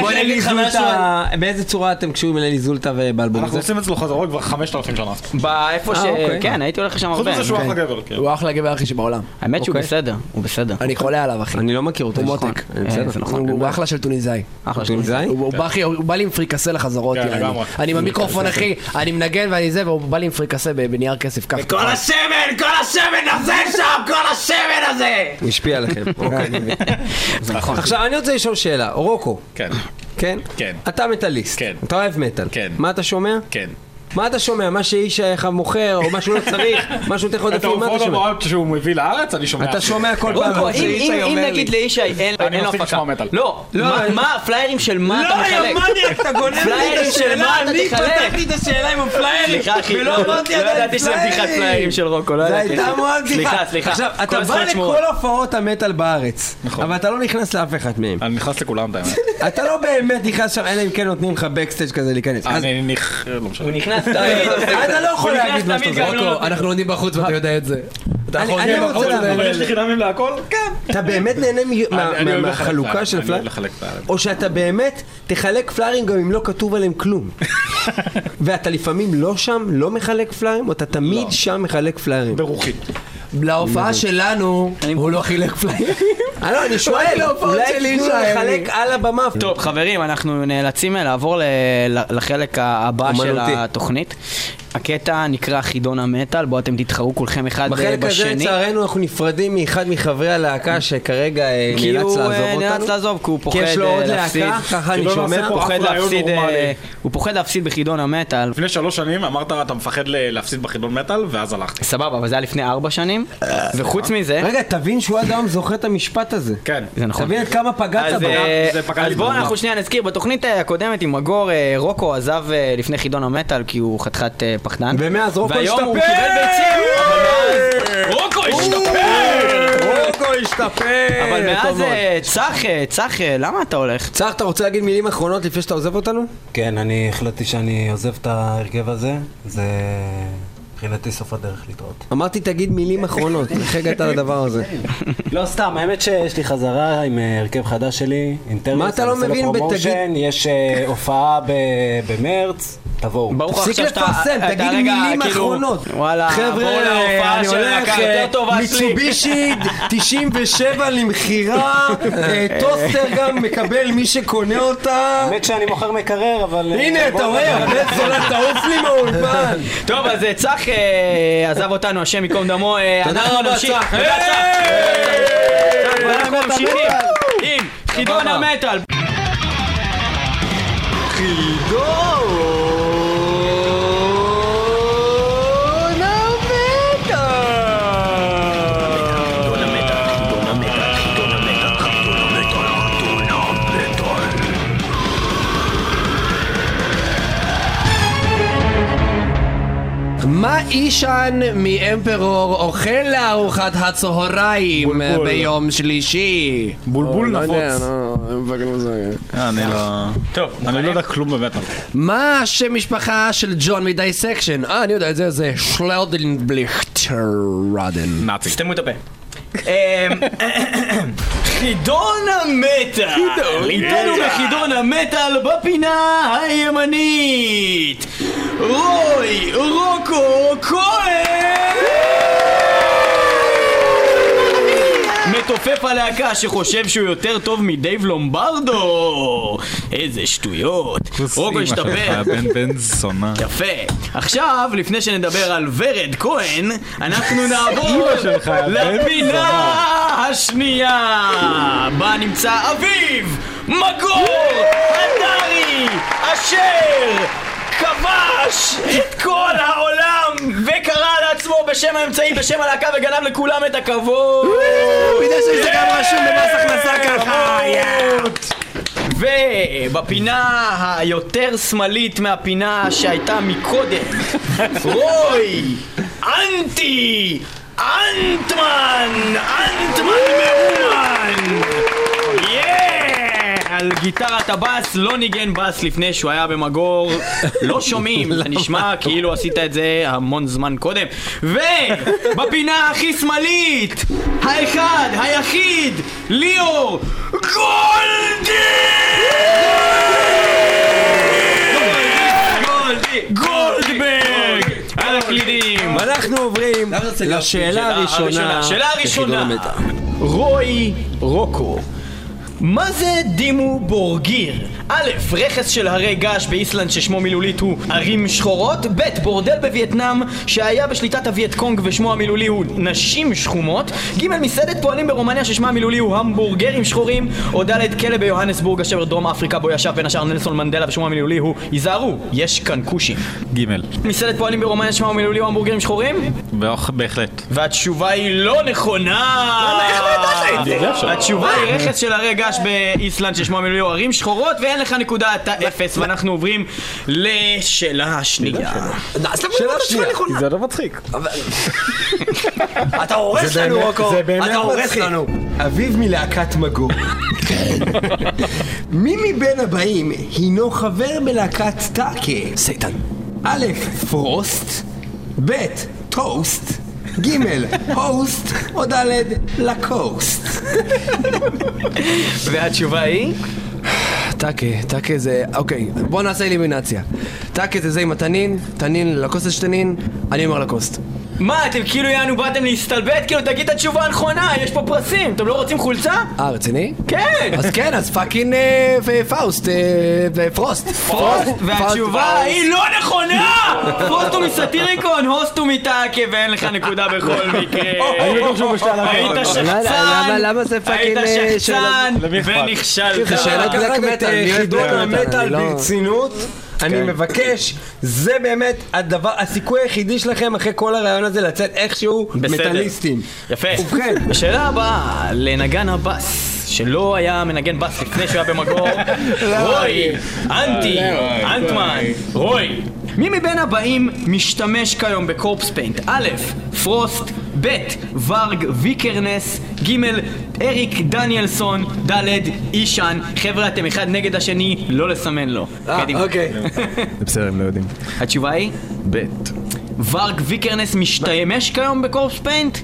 Speaker 8: אלי
Speaker 2: משהו,
Speaker 8: זולטה-
Speaker 2: על- באיזה צורה אתם קשורים לאלי זולטה ובאלבום הזה?
Speaker 6: אנחנו עושים אצלו חזרות כבר 5,000 שנה.
Speaker 1: באיפה
Speaker 7: אה,
Speaker 1: ש...
Speaker 2: אוקיי.
Speaker 1: כן, הייתי הולך לשם
Speaker 6: חוץ
Speaker 1: הרבה,
Speaker 6: מזה שהוא אחלה גבר, כן.
Speaker 3: הוא אחלה גבר הכי שבעולם.
Speaker 1: האמת שהוא
Speaker 2: אוקיי.
Speaker 1: בסדר, הוא בסדר,
Speaker 3: אני חולה עליו, אחי.
Speaker 2: אני לא מכיר אותו.
Speaker 3: הוא
Speaker 2: יש לך.
Speaker 3: מותק.
Speaker 2: אני בסדר.
Speaker 1: אה, זה נכון,
Speaker 3: הוא אחלה של טוניסאי.
Speaker 1: אחלה
Speaker 2: אתם
Speaker 1: שלו.
Speaker 2: זין?
Speaker 3: הוא הוא בא, אחי, הוא בא לי עם פריקסה לחזרות,
Speaker 6: כן,
Speaker 3: יעני.
Speaker 6: לגמרי.
Speaker 3: אני במיקרופון, אחי, אני מנגן ואני זה, והוא בא לי עם פריקסה ב- בנייר כסף כף. כל השמן,
Speaker 2: השפיע עליכם. אוקיי. עכשיו אני רוצה לשאול שאלה, רוקו,
Speaker 6: כן.
Speaker 2: כן?
Speaker 6: נכון. כן.
Speaker 2: אתה מטאליסט.
Speaker 6: כן.
Speaker 2: אתה אוהב מטאל.
Speaker 6: כן.
Speaker 2: מה אתה שומע?
Speaker 6: כן.
Speaker 2: מה אתה שומע? מה שאיש איך מוכר, או מה שהוא לא צריך, מה שהוא נותן לך
Speaker 6: את
Speaker 2: עודפים, מה
Speaker 6: ההופעות
Speaker 2: אתה שומע?
Speaker 6: המוראות שהוא מביא לארץ, אני שומע.
Speaker 2: אתה שומע כל פעם.
Speaker 1: רוקו, אם- אם- אם נגיד לישי אין
Speaker 6: אני
Speaker 1: אין לו
Speaker 6: מפסיק לשמוע
Speaker 1: הפקה,
Speaker 6: מטאל.
Speaker 1: לא,
Speaker 2: לא,
Speaker 1: מה-
Speaker 2: אני- לא,
Speaker 1: מה הפליירים של מה אתה מחלק?
Speaker 2: אתה גונב
Speaker 1: פליירים של מה אתה תחלק?
Speaker 2: את השאלה עם הפליירים,
Speaker 1: סליחה אחי, לא לא ידעתי שזה בדיחת פליירים של רוקו, לא
Speaker 2: זה
Speaker 1: ידעתי.
Speaker 2: הייתה מאוד בדיחה.
Speaker 1: סליחה, סליחה.
Speaker 2: עכשיו,
Speaker 1: כל
Speaker 2: אתה בא
Speaker 1: הזכויות שמורות.
Speaker 2: לכל הופעות המטאל בארץ,
Speaker 6: נכון. אה.
Speaker 2: אבל אתה לא נכנס לאף אחד מהם.
Speaker 6: אני נכנס לכולם, את האמת.
Speaker 2: אתה לא באמת נכנס שם, אלא אם כן נותנים לך בקסטייג' כזה להיכנס. אז
Speaker 6: אני נכ... לא משנה.
Speaker 1: הוא נכנס תמיד,
Speaker 2: אתה לא יכול
Speaker 1: הוא נכנס
Speaker 2: להגיד מה
Speaker 1: תמיד
Speaker 2: שאתה
Speaker 1: גם לא-
Speaker 3: רוקו, אנחנו עומדים בחוץ ואתה יודע את זה. אתה
Speaker 2: אני-
Speaker 3: יכול
Speaker 2: אני
Speaker 3: להיות
Speaker 2: רוצה
Speaker 3: בחוץ,
Speaker 2: לעבור
Speaker 3: אבל-
Speaker 6: יש לי חינמים להכל? כן.
Speaker 2: אתה באמת נהנה מ- מה-
Speaker 6: אני
Speaker 2: מה-
Speaker 6: אוהב לחלק
Speaker 2: מהחלוקה
Speaker 6: פליירים,
Speaker 2: של
Speaker 6: אני
Speaker 2: הפלאר?
Speaker 6: אוהב לחלק פליירים.
Speaker 2: או שאתה באמת תחלק פלארים גם אם לא כתוב עליהם כלום. ואתה לפעמים לא שם, לא מחלק פלארים, או אתה תמיד
Speaker 6: לא.
Speaker 2: שם מחלק פלארים.
Speaker 6: ברוחי.
Speaker 3: להופעה שלנו, הוא לא חילק פליירים.
Speaker 2: אני לא, אני שואל, אולי תנו לחלק על הבמה.
Speaker 1: טוב חברים, אנחנו נאלצים לעבור ל- לחלק הבא של
Speaker 2: אומנותי.
Speaker 1: התוכנית. הקטע נקרא חידון המטאל, בו אתם תתחרו כולכם אחד אה,
Speaker 2: בחלק הזה
Speaker 1: בשני.
Speaker 2: לצערנו אנחנו נפרדים מאחד מחברי הלהקה שכרגע אה,
Speaker 1: כי
Speaker 2: נאלץ
Speaker 1: הוא
Speaker 2: לעזוב
Speaker 1: אה, נאלץ
Speaker 2: אותנו.
Speaker 1: לעזוב, כי הוא
Speaker 2: כי
Speaker 1: פוחד
Speaker 2: יש לו
Speaker 1: אה,
Speaker 2: עוד
Speaker 1: להפסיד. כאילו,
Speaker 2: להקה, ככה
Speaker 6: כי
Speaker 2: אני
Speaker 6: לא
Speaker 2: שומע.
Speaker 6: נעשה פה
Speaker 1: הוא פוחד
Speaker 6: אף רעיון
Speaker 1: להפסיד, אה,
Speaker 6: נורמלי.
Speaker 1: הוא פוחד להפסיד בחידון המטאל.
Speaker 6: לפני שלוש שנים אמרת אתה מפחד ל- להפסיד בחידון מטאל, ואז הלכתי.
Speaker 1: סבבה, אבל זה היה לפני ארבע שנים, וחוץ מזה...
Speaker 2: רגע, תבין שהוא עד היום זוכר את המשפט הזה.
Speaker 6: כן.
Speaker 1: זה נכון.
Speaker 2: תבין עד כמה פגעת
Speaker 1: אז,
Speaker 2: בו.
Speaker 1: אה,
Speaker 6: זה פגע
Speaker 1: אז
Speaker 6: לי
Speaker 1: בואו
Speaker 6: מאוד.
Speaker 1: אנחנו שנייה נזכיר, בתוכנית אה, הקודמת עם מגור, אה, רוקו עזב אה, לפני חידון המטאל כי הוא חתיכת אה, פחדן.
Speaker 2: ומאז רוקו
Speaker 1: והיום הוא
Speaker 2: השתפר!
Speaker 1: קיבל ביצים!
Speaker 6: רוקו השתפר!
Speaker 2: רוקו השתפר!
Speaker 1: אבל
Speaker 2: טוב
Speaker 1: מאז,
Speaker 2: מאוד.
Speaker 1: אה, צח, אה, צח, אה, למה אתה הולך?
Speaker 2: צח, אתה רוצה להגיד מילים אחרונות לפני שאתה עוזב אותנו?
Speaker 8: כן, אני החלטתי שאני עוזב את ההרכב הזה. זה מבחינתי סוף הדרך להתראות.
Speaker 2: אמרתי תגיד מילים אחרונות, איך הגעת לדבר הזה?
Speaker 1: אה,
Speaker 8: לא סתם, האמת שיש לי חזרה עם אה, הרכב חדש שלי, אינטרנט,
Speaker 2: מה אתה לא מבין בתגיד?
Speaker 8: יש אה, הופעה ב- במרץ, תבואו.
Speaker 1: ברור
Speaker 2: תפסיק
Speaker 1: עכשיו שאתה-
Speaker 2: לפרסם,
Speaker 1: אתה
Speaker 2: תגיד
Speaker 1: רגע,
Speaker 2: מילים
Speaker 1: כאילו,
Speaker 2: אחרונות.
Speaker 1: וואלה, בואו
Speaker 2: חבר'ה,
Speaker 1: להופעה
Speaker 2: אני
Speaker 1: של
Speaker 2: הולך,
Speaker 1: להקה
Speaker 2: אה,
Speaker 1: יותר טובה שלי.
Speaker 2: מיצובישי 97 למכירה, אה, טוסטר גם מקבל מי שקונה אותה.
Speaker 8: האמת שאני מוכר מקרר, אבל... אה,
Speaker 2: הנה, אתה
Speaker 8: בואו
Speaker 2: רואה,
Speaker 8: נדבר.
Speaker 2: הבן זולה תעוף לי מהאולפן.
Speaker 1: טוב, אז אה, צח אה, עזב אותנו, השם ייקום דמו, אה,
Speaker 2: תודה
Speaker 1: אנחנו
Speaker 2: רבה,
Speaker 1: נמשיך.
Speaker 2: צח.
Speaker 1: תודה, צח. אנחנו ממשיכים עם חידון
Speaker 2: סבבה.
Speaker 1: המטאל.
Speaker 3: מה אישן מאמפרור אוכל לארוחת הצהריים ביום שלישי?
Speaker 6: בולבול נפוץ.
Speaker 3: לא.
Speaker 7: נפוץ.
Speaker 6: אני לא... טוב, אני לא יודע כלום במטאל.
Speaker 3: מה השם משפחה של ג'ון מדייסקשן? אה, אני יודע את זה, זה שלדנבליכטרדן.
Speaker 6: נאצי.
Speaker 1: סתמו את הפה. אמ, חידון המטאל,
Speaker 2: כן,
Speaker 1: איתנו בחידון המטאל בפינה הימנית, רוי רוקו כהן! מתופף הלהקה שחושב שהוא יותר טוב מדייב לומברדו! איזה שטויות! רוקו השתפר!
Speaker 6: בן בן זונה.
Speaker 1: יפה. עכשיו, לפני שנדבר על ורד כהן, אנחנו נעבור לפינה השנייה, בה נמצא אביב, מגור, הדרי, אשר, כבש את כל העולם וקרא לעצמו בשם האמצעי, בשם הלהקה וגנב לכולם את הכבוד.
Speaker 3: הוא יודע שזה גם רשום במס הכנסה ככה.
Speaker 1: ובפינה היותר שמאלית מהפינה שהייתה מקודם, רוי, אנטי, אנטמן, אנטמן מאומן! יאה! על גיטרת הבאס, לא ניגן באס לפני שהוא היה במגור, לא שומעים, זה נשמע כאילו עשית את זה המון זמן קודם. ובפינה הכי שמאלית, האחד, היחיד, ליאור גולדי! גולדברג! על הקלידים!
Speaker 8: אנחנו עוברים לשאלה הראשונה.
Speaker 1: אה, שאלה הראשונה. רוי רוקו. מה זה דימו בורגיר? א', רכס של הרי געש באיסלנד ששמו מילולית הוא ערים שחורות, ב', בורדל בווייטנאם שהיה בשליטת הווייט קונג ושמו המילולי הוא נשים שחומות, ג', מסעדת פועלים ברומניה ששמה המילולי הוא המבורגרים שחורים, או ד', כלא ביוהנסבורג אשר דרום אפריקה בו ישב בין השאר נלסון מנדלה ושמו המילולי הוא היזהרו, יש כאן כושים.
Speaker 6: גימל.
Speaker 1: מסעדת פועלים ברומניה ששמה המילולי הוא המבורגרים שחורים?
Speaker 6: באוח- בהחלט.
Speaker 1: והתשובה היא לא נכונה! התשובה היא רכס של הרי געש באיסלנד ששמו המילולי הוא ערים שחורות ואין לך נקודה, אתה אפס, ואנחנו עוברים לשאלה השנייה.
Speaker 5: זה לא מצחיק.
Speaker 3: אתה הורס
Speaker 2: זה
Speaker 3: לנו,
Speaker 2: באמת-
Speaker 3: רוקו.
Speaker 2: זה באמת
Speaker 3: אתה הורס
Speaker 2: מצחיק.
Speaker 3: לנו.
Speaker 2: אביב מלהקת מגור.
Speaker 11: מי מבין הבאים הינו חבר בלהקת טאקה? סייטן. א', פרוסט, ב', טוסט, ג', הוסט, או ד', לקוסט.
Speaker 1: והתשובה היא?
Speaker 3: טאקה, טאקה זה... אוקיי, בוא נעשה אלימינציה. טאקה זה זה עם התנין, תנין לקוסט יש תנין, אני אומר לקוסט.
Speaker 1: מה, אתם כאילו יענו באתם להסתלבט? כאילו, תגיד את התשובה הנכונה, יש פה פרסים, אתם לא רוצים חולצה?
Speaker 3: אה, רציני?
Speaker 1: כן!
Speaker 3: אז כן, אז פאקינג אה, ו- פאוסט, אה, ופרוסט.
Speaker 1: פרוסט,
Speaker 3: פאוסט,
Speaker 1: והתשובה
Speaker 3: פאוסט.
Speaker 1: היא לא נכונה! פרוסט הוא מסטיריקון, הוסט הוא מטאקה, ואין לך נקודה בכל מקרה.
Speaker 7: לא,
Speaker 1: היית
Speaker 7: למה-
Speaker 1: שחצן,
Speaker 7: למה זה
Speaker 1: היית
Speaker 7: פאקינג, אה,
Speaker 1: שחצן,
Speaker 6: למי אכפת?
Speaker 1: ונכשלת.
Speaker 2: זה שאלות
Speaker 3: בלק
Speaker 2: בלק
Speaker 3: מטאל, נראה
Speaker 2: אה, חידון
Speaker 3: בלק מטאל,
Speaker 2: המטאל
Speaker 3: לא- כן.
Speaker 2: ברצינות. אני מבקש, זה באמת הדבר, הסיכוי היחידי שלכם אחרי כל הרעיון הזה לצאת איכשהו
Speaker 1: בסדר.
Speaker 2: מטאליסטים.
Speaker 1: יפה.
Speaker 2: ובכן.
Speaker 1: השאלה הבאה, לנגן הבאס. שלא היה מנגן בס לפני שהוא היה במקור,
Speaker 7: לא,
Speaker 1: רוי, אנטי, אנטמן, רוי. מי מבין הבאים משתמש כיום בקורפס פיינט? א', פרוסט, ב', ורג ויקרנס, ג', אריק דניאלסון, ד', אישן. חבר'ה, אתם אחד נגד השני, לא לסמן לו.
Speaker 7: אה,
Speaker 1: קדימה.
Speaker 3: אוקיי.
Speaker 9: זה בסדר, הם לא יודעים.
Speaker 1: התשובה היא,
Speaker 9: ב',
Speaker 1: ורג ויקרנס משתמש כיום בקורפס פיינט?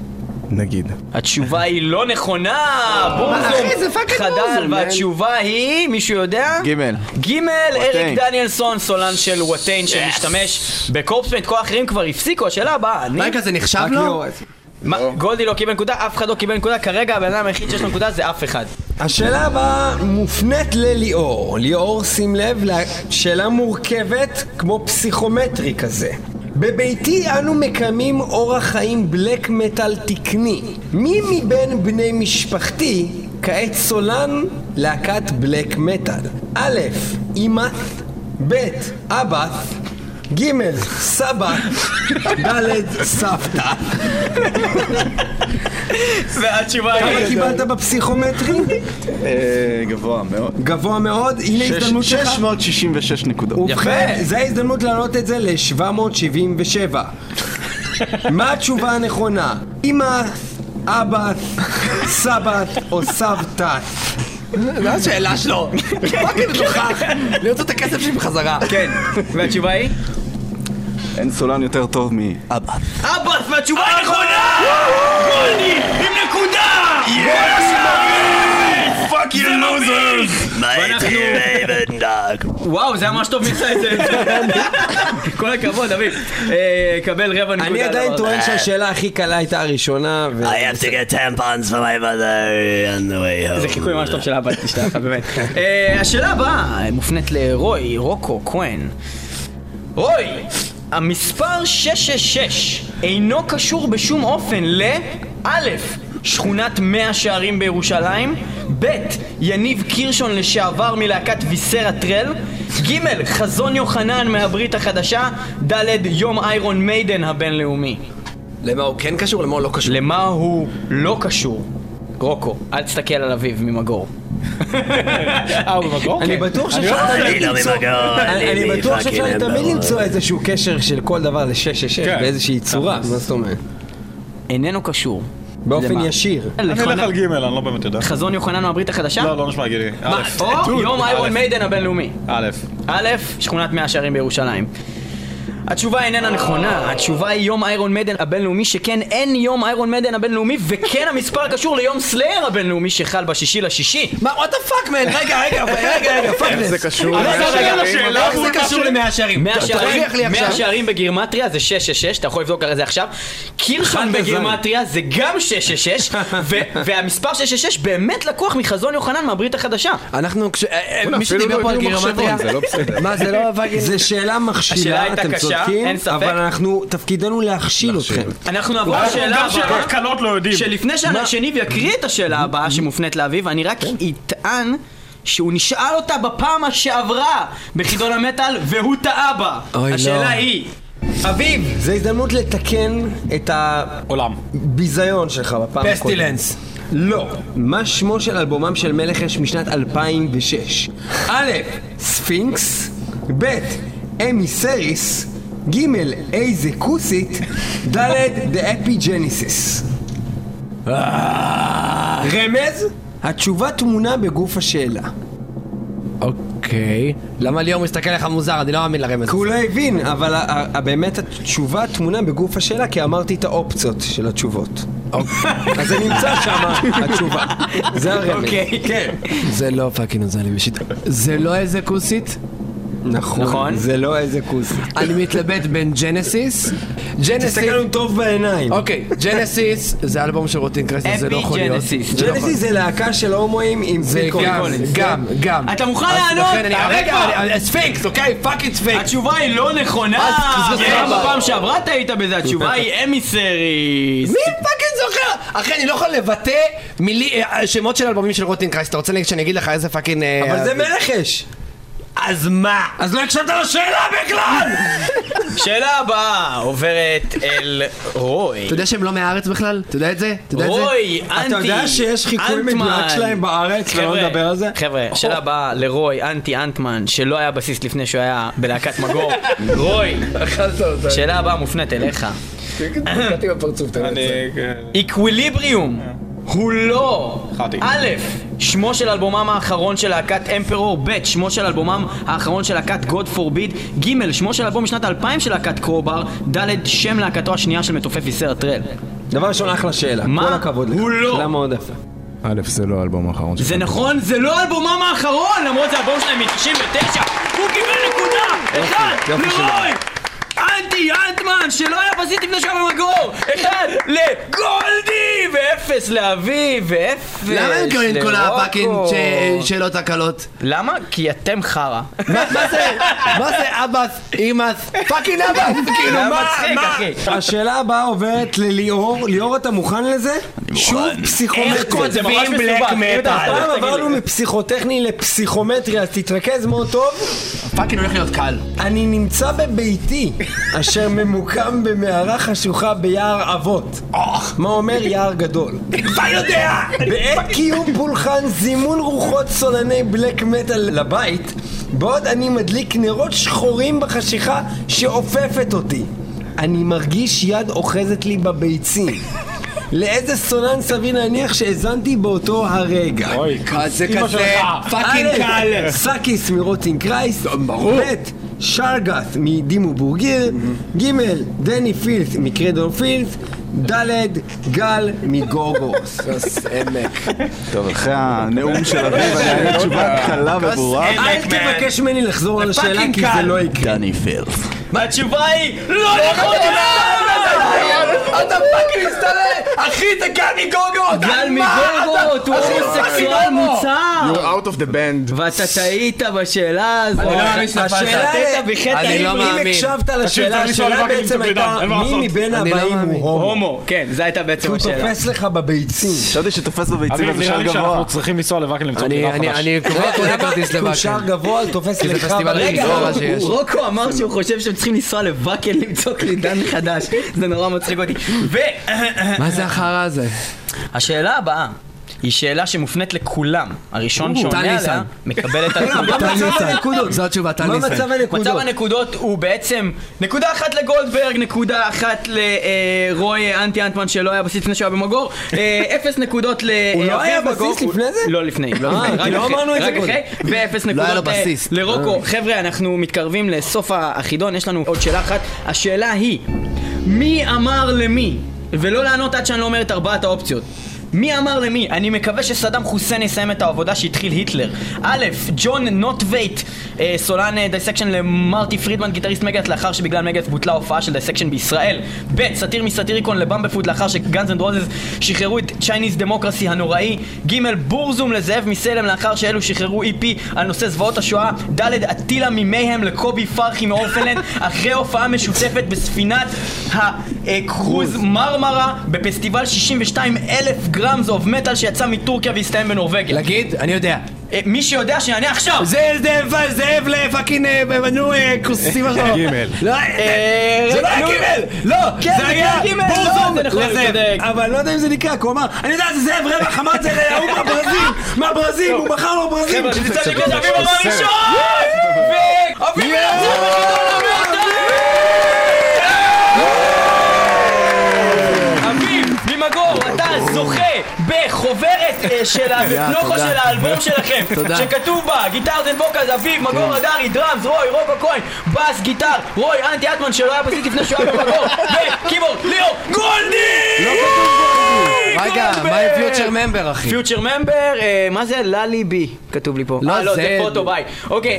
Speaker 9: נגיד.
Speaker 1: התשובה היא לא נכונה! אה, בורזום חדל, והתשובה היא, מישהו יודע?
Speaker 5: גימל.
Speaker 1: גימל, אריק
Speaker 5: וואטיין.
Speaker 1: דניאלסון, סולן של וואטיין שמשתמש בקורפסמנט, כל האחרים כבר הפסיקו, השאלה הבאה, אני...
Speaker 3: רגע, זה נחשב לו?
Speaker 1: מה, גולדי לא קיבל נקודה, אף אחד לא קיבל נקודה, כרגע הבן אדם היחיד שיש לו נקודה זה אף אחד.
Speaker 2: השאלה הבאה מופנית לליאור. ליאור, שים לב, שאלה מורכבת כמו פסיכומטרי כזה. בביתי אנו מקיימים אורח חיים בלק מטאל תקני. מי מבין בני משפחתי כעת סולן להקת בלק מטאל? א', אימאס, ב', אבאס, ג', סבא, ד', סבתא.
Speaker 1: והתשובה היא...
Speaker 2: כמה קיבלת בפסיכומטרי?
Speaker 5: אה, גבוה מאוד.
Speaker 2: גבוה מאוד, הנה הזדמנות שלך.
Speaker 5: 666 נקודות.
Speaker 2: ובכן, זו ההזדמנות להעלות את זה ל-777. מה התשובה הנכונה? אמא, אבא, סבת או סבתא?
Speaker 3: זו השאלה שלו. פאקינג נוכח. לרצות את הכסף שלי בחזרה.
Speaker 1: כן, והתשובה היא?
Speaker 5: אין סולן יותר טוב מאבא.
Speaker 1: אבאס, והתשובה היא נכונה! גולדי, עם נקודה!
Speaker 6: פאק יו לוזרס!
Speaker 1: וואו, זה היה ממש טוב מי עשה את זה. כל הכבוד, אביב. אה, קבל רבע נקודה.
Speaker 2: אני עדיין
Speaker 1: לא-
Speaker 2: טוען שהשאלה הכי קלה הייתה הראשונה, ו...
Speaker 3: אה,
Speaker 1: זה חיקוי ממש טוב של הבת שלך, באמת. אה, השאלה הבאה מופנית לרוי, רוקו, כהן. רוי, המספר 666 אינו קשור בשום אופן ל... א', שכונת מאה שערים בירושלים, ב', יניב קירשון לשעבר מלהקת ויסרה טרל, ג', חזון יוחנן מהברית החדשה, ד', יום איירון מיידן הבינלאומי.
Speaker 3: למה הוא כן קשור? למה הוא לא קשור?
Speaker 1: למה הוא לא קשור? רוקו, אל תסתכל על אביו ממגור.
Speaker 6: אה, הוא
Speaker 3: לא,
Speaker 6: במקור?
Speaker 3: כן.
Speaker 2: אני בטוח שאפשר תמיד למצוא- אני- אני בטוח שאפשר תמיד למצוא איזשהו קשר של כל דבר ל-666
Speaker 6: כן.
Speaker 2: באיזושהי צורה. מה זאת אומרת?
Speaker 1: איננו קשור.
Speaker 2: באופן
Speaker 1: למה?
Speaker 2: ישיר.
Speaker 6: אני אלך על ג', אני לא באמת יודע.
Speaker 1: חזון יוחנן מהברית החדשה?
Speaker 6: לא, לא נשמע הגיוני.
Speaker 1: מה?
Speaker 6: א',
Speaker 1: או יום איירון מיידן הבינלאומי.
Speaker 6: א',
Speaker 1: א', שכונת מאה שערים בירושלים. התשובה איננה נכונה, התשובה היא יום איירון מדן הבינלאומי שכן אין יום איירון מדן הבינלאומי וכן המספר קשור ליום סלייר הבינלאומי שחל בשישי לשישי
Speaker 3: מה, what the fuck, man? רגע, רגע, רגע, רגע, פאק
Speaker 9: איך זה קשור?
Speaker 1: לא.
Speaker 6: אבל
Speaker 9: למאה
Speaker 6: זה רגע
Speaker 9: שערים?
Speaker 6: לשאלה.
Speaker 3: איך זה קשור למאה שערים?
Speaker 1: מאה שערים,
Speaker 3: תוכיח לי
Speaker 1: מאה
Speaker 3: עכשיו.
Speaker 1: שערים בגימטריה זה 666, אתה יכול לבדוק הרי זה עכשיו. קירשון בגימטריה זה גם 666, ו- והמספר 666 באמת לקוח מחזון יוחנן מהברית החדשה.
Speaker 3: אנחנו, כש- אה, אה, מי
Speaker 9: אפילו
Speaker 3: שדיבר
Speaker 9: לא
Speaker 3: פה על
Speaker 9: הביאו
Speaker 3: גירומטריה,
Speaker 9: מחשבון, זה לא בסדר.
Speaker 3: מה זה לא פאקינג,
Speaker 2: זו שאלה
Speaker 1: השאלה
Speaker 2: מכשילה,
Speaker 1: הייתה
Speaker 2: אתם
Speaker 1: קשה, אין
Speaker 2: צודקים,
Speaker 1: ספק.
Speaker 2: אבל אנחנו, תפקידנו להכשיל אתכם.
Speaker 1: אנחנו נעבור
Speaker 6: אנחנו
Speaker 1: לשאלה
Speaker 6: גם
Speaker 1: הבאה.
Speaker 6: שאלות קלות לא יודעים.
Speaker 1: שלפני שהשניב יקריא את השאלה הבאה שמופנית לאביו, אני רק אטען שהוא נשאל אותה בפעם שעברה בחידון המטאל, והוא טעה בה.
Speaker 2: אוי, לא.
Speaker 1: השאלה היא...
Speaker 2: אביב, זו הזדמנות לתקן את הביזיון שלך בפעם הקודמת.
Speaker 3: פסטילנס.
Speaker 2: לא. מה שמו של אלבומם של מלך אש משנת 2006? א', ספינקס, ב', אמי סריס, ג', איזה כוסית, ד', דה אפי ג'ניסיס. רמז? התשובה טמונה בגוף השאלה.
Speaker 3: אוקיי, למה ליאור מסתכל עליך מוזר? אני לא מאמין לרמז.
Speaker 2: כי הוא לא הבין, אבל ה- ה- ה- באמת התשובה טמונה בגוף השאלה, כי אמרתי את האופציות של התשובות. אז זה נמצא שם, התשובה. זה הרמז.
Speaker 1: אוקיי.
Speaker 2: כן.
Speaker 3: זה לא פאקינג עוזר לי בשיטה. זה לא איזה כוסית?
Speaker 2: נכון.
Speaker 1: נכון.
Speaker 2: זה לא איזה כוס.
Speaker 3: אני מתלבט בין ג'נסיס. ג'נסיס...
Speaker 2: תסתכל לנו טוב בעיניים.
Speaker 3: אוקיי, ג'נסיס זה אלבום של רוטין קרסס, זה לא יכול
Speaker 1: Epigenesis.
Speaker 3: להיות. זה לא יכול-
Speaker 2: ג'נסיס זה להקה של הומואים עם כן.
Speaker 3: זה
Speaker 2: פיקו.
Speaker 3: גם, גם, גם.
Speaker 1: אתה מוכן
Speaker 3: אז
Speaker 1: לענות?
Speaker 3: לכן אני-
Speaker 1: רגע.
Speaker 3: רגע, אני- ספינקס, אוקיי? פאקינג ספינקס.
Speaker 1: התשובה היא לא נכונה!
Speaker 3: אז-
Speaker 1: כן,
Speaker 3: סבבה.
Speaker 1: בפעם שעברה טעית בזה, התשובה היא אמיסריס!
Speaker 3: מי פאקינג זוכר? אחי, אני לא יכול לבטא מילי... אה, שמות של אלבומים של רוטין קרסס. אתה רוצה להגיד- שאני אגיד לך איזה פאקינג... אה,
Speaker 2: אבל זה מלך אש.
Speaker 3: אז מה?
Speaker 2: אז לא הקשבת לשאלה בכלל!
Speaker 1: שאלה הבאה עוברת אל רוי.
Speaker 3: אתה יודע שהם לא מהארץ בכלל? אתה יודע את זה? אתה יודע את זה?
Speaker 1: רוי, אנטי,
Speaker 2: אתה יודע שיש חיקוי
Speaker 1: אנטמן.
Speaker 2: מדויק שלהם בארץ, ולא
Speaker 1: חבר'ה,
Speaker 2: נדבר על זה?
Speaker 1: חבר'ה, שאלה הבאה לרוי, אנטי אנטמן, שלא היה בסיס לפני שהוא היה בלהקת מגור. רוי, שאלה הבאה מופנית אליך.
Speaker 6: אני...
Speaker 1: איקוויליבריום הוא לא
Speaker 6: חטי.
Speaker 1: א', שמו של אלבומם האחרון של להקת אמפרור, ב', שמו של אלבומם האחרון של להקת God Forbid, ג', שמו של אלבום משנת 2000 של להקת קרובר, ד', שם להקתו השנייה של מתופף ויסר טרל.
Speaker 2: דבר ראשון, אחלה שאלה.
Speaker 1: מה?
Speaker 2: כל הכבוד לך.
Speaker 1: הוא לא.
Speaker 2: למה עוד יפה?
Speaker 9: א', זה לא האלבום האחרון שלך.
Speaker 1: זה נכון, זה לא אלבומם האחרון, למרות זה אלבום שלהם מ-99, הוא קיבל נקודה! אחד,
Speaker 2: יופי שלו.
Speaker 1: לרוי! אנטי אנטמן, שלא היה בסיס לפני שעה במגור! אחד לגולדי! ואפס לאביב, ואפס
Speaker 3: למה הם קוראים כל
Speaker 1: לרוקו.
Speaker 3: הפאקינג ש- שאלות הקלות?
Speaker 1: למה? כי אתם חרא.
Speaker 3: מה מה זה? מה זה אבאס, אימאס, פאקינג אבאס? כאילו,
Speaker 1: זה היה
Speaker 3: מה?
Speaker 1: מצחיק,
Speaker 3: מה?
Speaker 1: אחי.
Speaker 2: השאלה הבאה עוברת לליאור. ליאור, אתה מוכן לזה? שוב
Speaker 1: איך
Speaker 2: פסיכומטרי.
Speaker 1: כותבים בלק
Speaker 2: פעם
Speaker 1: מטאל?
Speaker 2: עברנו מפסיכוטכני לפסיכומטרי, אז תתרכז מאוד טוב.
Speaker 3: פאקינג הולך להיות קל.
Speaker 2: אני נמצא בביתי, אשר ממוקם במערה חשוכה ביער אבות. מה אומר יער גדול? אתה יודע! בעת קיום פולחן זימון רוחות סולני בלק מטאל לבית, בעוד אני מדליק נרות שחורים בחשיכה שאופפת אותי. אני מרגיש יד אוחזת לי בביצים. לאיזה סונן סביר להניח שהאזנתי באותו הרגע?
Speaker 3: זה כזה פאקינג קל.
Speaker 2: א', סאקיס מרוטינג קרייסט, ברור. ב', שרגת מדימו בורגיר, ג', דני פילס מקרדון פילס, ד', גל מגורגורס.
Speaker 5: אחרי הנאום של אביב, אני אענה תשובה קלה וברורה.
Speaker 2: אל תבקש ממני לחזור על השאלה כי זה לא יקרה.
Speaker 5: דני פילס.
Speaker 1: התשובה היא לא נכונה!
Speaker 3: אתה פאקינג מסתלם! אחי, אתה גל מגורגו!
Speaker 12: גל מגורגו, הוא
Speaker 3: לא
Speaker 12: הומוסקסואל מוצהר!
Speaker 9: You're out of the band.
Speaker 12: ואתה טעית בשאלה הזאת.
Speaker 3: לא
Speaker 2: השאלה
Speaker 12: חטאת בחטא
Speaker 2: היא,
Speaker 12: האם-
Speaker 2: אם הקשבת לשאלה, השאלה בעצם הייתה, מי מבין
Speaker 3: לא
Speaker 2: הבאים הוא הומו?
Speaker 12: הומו, כן, זו הייתה בעצם
Speaker 2: הוא
Speaker 12: השאלה.
Speaker 2: תופס לך בביצים.
Speaker 5: חשבתי שתופס בביצים אז הוא שער גבוה.
Speaker 6: אנחנו צריכים לנסוע לוואקן למצוא
Speaker 3: אני-
Speaker 6: דירה
Speaker 3: אני-
Speaker 6: חדש.
Speaker 2: אה,
Speaker 3: אני כבר
Speaker 2: אוקיי,
Speaker 3: קונה כרטיס
Speaker 2: הוא
Speaker 3: לבאקר.
Speaker 2: שער גבוה, הוא תופס
Speaker 3: כי זה
Speaker 2: לך
Speaker 3: פסטיבל
Speaker 2: ברגע.
Speaker 3: רגע, מה שיש.
Speaker 12: רוקו אמר שהוא חושב שהם צריכים לנסוע לבאקל למצוא קלידן חדש. זה נורא מצחיק אותי.
Speaker 3: מה זה החרא הזה?
Speaker 1: השאלה הבאה היא שאלה שמופנית לכולם. הראשון
Speaker 3: או,
Speaker 1: שעונה
Speaker 3: טל
Speaker 1: עליה
Speaker 3: ניסן.
Speaker 1: מקבל
Speaker 2: לא,
Speaker 1: את הנקודות.
Speaker 3: מה מצב הנקודות? זו התשובה, טל
Speaker 2: מה
Speaker 3: ניסן.
Speaker 2: מצב
Speaker 1: מצב
Speaker 2: הנקודות?
Speaker 1: הנקודות הוא בעצם נקודה אחת לגולדברג, נקודה אחת לרוי אנטי אנטמן שלא היה בסיס לפני שהוא היה במגור, אה, אפס נקודות ל...
Speaker 2: הוא לא
Speaker 1: אה,
Speaker 2: היה
Speaker 1: אחרי
Speaker 2: בסיס
Speaker 1: מגור,
Speaker 2: לפני
Speaker 1: הוא-
Speaker 2: זה?
Speaker 1: לא לפני, לא
Speaker 2: אה,
Speaker 1: לפני,
Speaker 2: כי
Speaker 1: רק
Speaker 2: לא
Speaker 1: אחרי,
Speaker 2: אמרנו את זה
Speaker 1: רק
Speaker 2: קודם.
Speaker 1: אחרי, ואפס
Speaker 3: לא היה לו
Speaker 1: נקודות אה,
Speaker 3: בסיס.
Speaker 1: לרוקו. חבר'ה, אנחנו מתקרבים לסוף החידון, יש לנו עוד שאלה אחת. השאלה היא, מי אמר למי? ולא לענות עד שאני לא אומר את ארבעת האופציות. מי אמר למי? אני מקווה שסדאם חוסיין יסיים את העבודה שהתחיל היטלר. א', ג'ון נוטווייט, אה, סולן אה, דייסקשן למרטי פרידמן, גיטריסט מגאט, לאחר שבגלל מגאט בוטלה ההופעה של דייסקשן בישראל. ב', סאטיר מסאטיריקון לבמבפוד, לאחר שגאנז אנד רוזס שחררו את צ'ייניז דמוקרסי הנוראי. ג', בורזום לזאב מסלם, לאחר שאלו שחררו EP על נושא זוועות השואה. ד', אטילה ממיהם לקובי פרחי מאורפלנד, אחרי הופעה משותפת בספינת הקרוז מרמרה, בפסטיבל 62 אלף גרמס אוף מטאל שיצא מטורקיה והסתיים בנורבגיה.
Speaker 3: להגיד? אני יודע.
Speaker 1: אה, מי שיודע שיענה עכשיו!
Speaker 3: זה זה- זאב לפאקינג, אה, נו, אה, כוסימה שלו.
Speaker 9: גימל.
Speaker 3: לא, אה,
Speaker 2: זה לא
Speaker 3: נו,
Speaker 2: היה גימל! לא!
Speaker 1: כן,
Speaker 2: זה
Speaker 1: זה
Speaker 2: היה
Speaker 1: כן גימל, לא,
Speaker 2: בורזום
Speaker 1: זה נכון,
Speaker 2: לזאב!
Speaker 1: צודק.
Speaker 2: אבל אני לא יודע אם זה נקרא, כי הוא אמר, אני יודע, זה זאב רווח, אמר את זה להוא מהברזיל! מהברזיל!
Speaker 3: לא.
Speaker 2: הוא מכר לו ברזיל!
Speaker 1: זה נגד אביב אמר ראשון! ו- אביב יצא בגדול המטר! אביב, ממגור, אתה זוכה בחוברת אה, של הפלוכו של האלבום שלכם שכתוב בה גיטר דן בוקאז, אביב, מגור
Speaker 3: כן.
Speaker 1: הדרי, דראמס, רוי, רוקו כהן, בס, גיטר, רוי, אנטי אטמן שלא היה פסיט לפני שהוא היה במגור וקיבורג, ליאור, גולדי!
Speaker 3: לא רגע, מה עם פיוטר ממבר, אחי?
Speaker 1: פיוטר ממבר, אה, מה זה? ללי בי, כתוב לי פה.
Speaker 3: לא,
Speaker 1: אה, לא, זה
Speaker 3: זה-
Speaker 1: פוטו ביי. אוקיי,